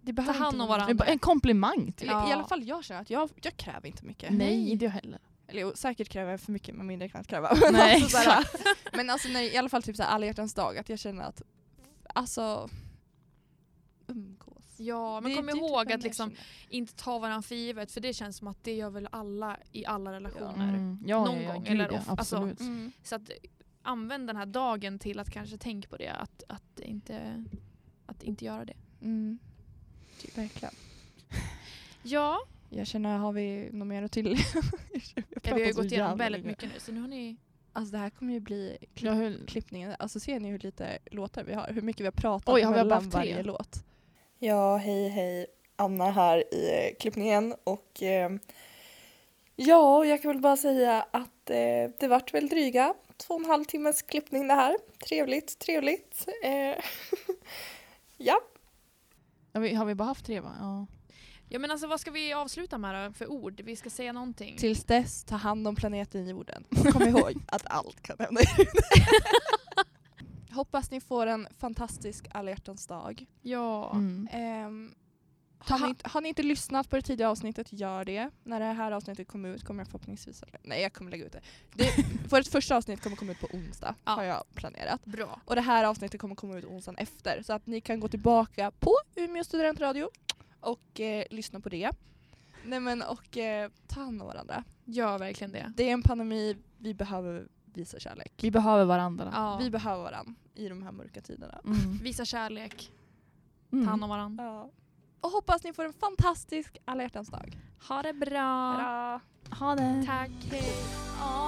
A: Det
B: Ta hand om varandra.
C: Men bara En komplimang typ.
A: Eller,
B: Ja.
A: I alla fall jag känner att jag, jag kräver inte mycket.
C: Nej, inte jag heller.
A: Eller jo, säkert kräver jag för mycket men mindre kan jag inte kräva. Men
C: Nej,
A: alltså, såhär, men alltså nej, i alla fall typ såhär, alla hjärtans dag att jag känner att alltså umgås.
B: Ja,
A: Det
B: men
A: är
B: kom
A: typ
B: ihåg
A: vad jag
B: att liksom
A: känner.
B: inte ta varandra för givet för det känns som att det gör väl alla i alla relationer.
C: Mm. Ja,
B: Någon
C: ja, ja,
B: gång,
C: gud,
B: eller
C: ja,
B: of- alltså,
C: absolut.
A: Mm.
B: Så att eh, använd den här dagen till att kanske tänka på det, att, att, inte, att inte göra det.
A: Mm. Typ, verkligen.
B: Ja,
A: Jag känner, har vi något mer att till? Jag
B: vi har ju
A: pratar så
B: gått igenom
A: jävla
B: väldigt
A: länge.
B: mycket nu så nu har ni
A: Alltså det här kommer ju bli klipp,
C: Jag höll...
A: klippningen. Alltså ser ni hur lite låtar vi har? Hur mycket vi har pratat
C: Oj, har vi bara
A: mellan
C: haft tre?
A: varje låt.
E: Ja, hej hej. Anna här i eh, klippningen och eh, ja, jag kan väl bara säga att eh, det vart väl dryga två och en halv timmes klippning det här. Trevligt, trevligt. Eh, ja.
C: har, vi, har vi bara haft tre va? Ja.
B: Ja men alltså vad ska vi avsluta med då för ord? Vi ska säga någonting.
A: Tills dess, ta hand om planeten jorden. Kom ihåg att allt kan hända. Hoppas ni får en fantastisk alla hjärtans dag.
B: Ja. Eh.
C: Mm.
A: Ehm,
B: Ta
A: har, ni,
B: ha-
A: inte- har ni inte lyssnat på det tidiga avsnittet, gör det. När det här avsnittet kommer ut kommer jag förhoppningsvis... Nej, jag kommer lägga ut det. det vårt första avsnitt kommer komma ut på onsdag,
B: Ja.
A: har jag planerat.
B: Bra.
A: Och det här avsnittet kommer komma ut onsdagen efter. Så att ni kan gå tillbaka på Umeå studentradio och eh, lyssna på det. Nej men och eh, ta hand om varandra.
B: Gör verkligen det.
A: Det är en pandemi, vi behöver visa kärlek.
C: Vi behöver varandra.
B: Ja.
A: Vi behöver varandra i de här mörka tiderna.
C: Mm.
B: Visa kärlek.
C: Mm.
B: Ta hand om varandra.
A: Ja. Och hoppas ni får en fantastisk alla hjärtans dag.
B: Ha det bra.
A: Hejdå!
C: Ha det.
B: Tack. Hej.
A: Ja.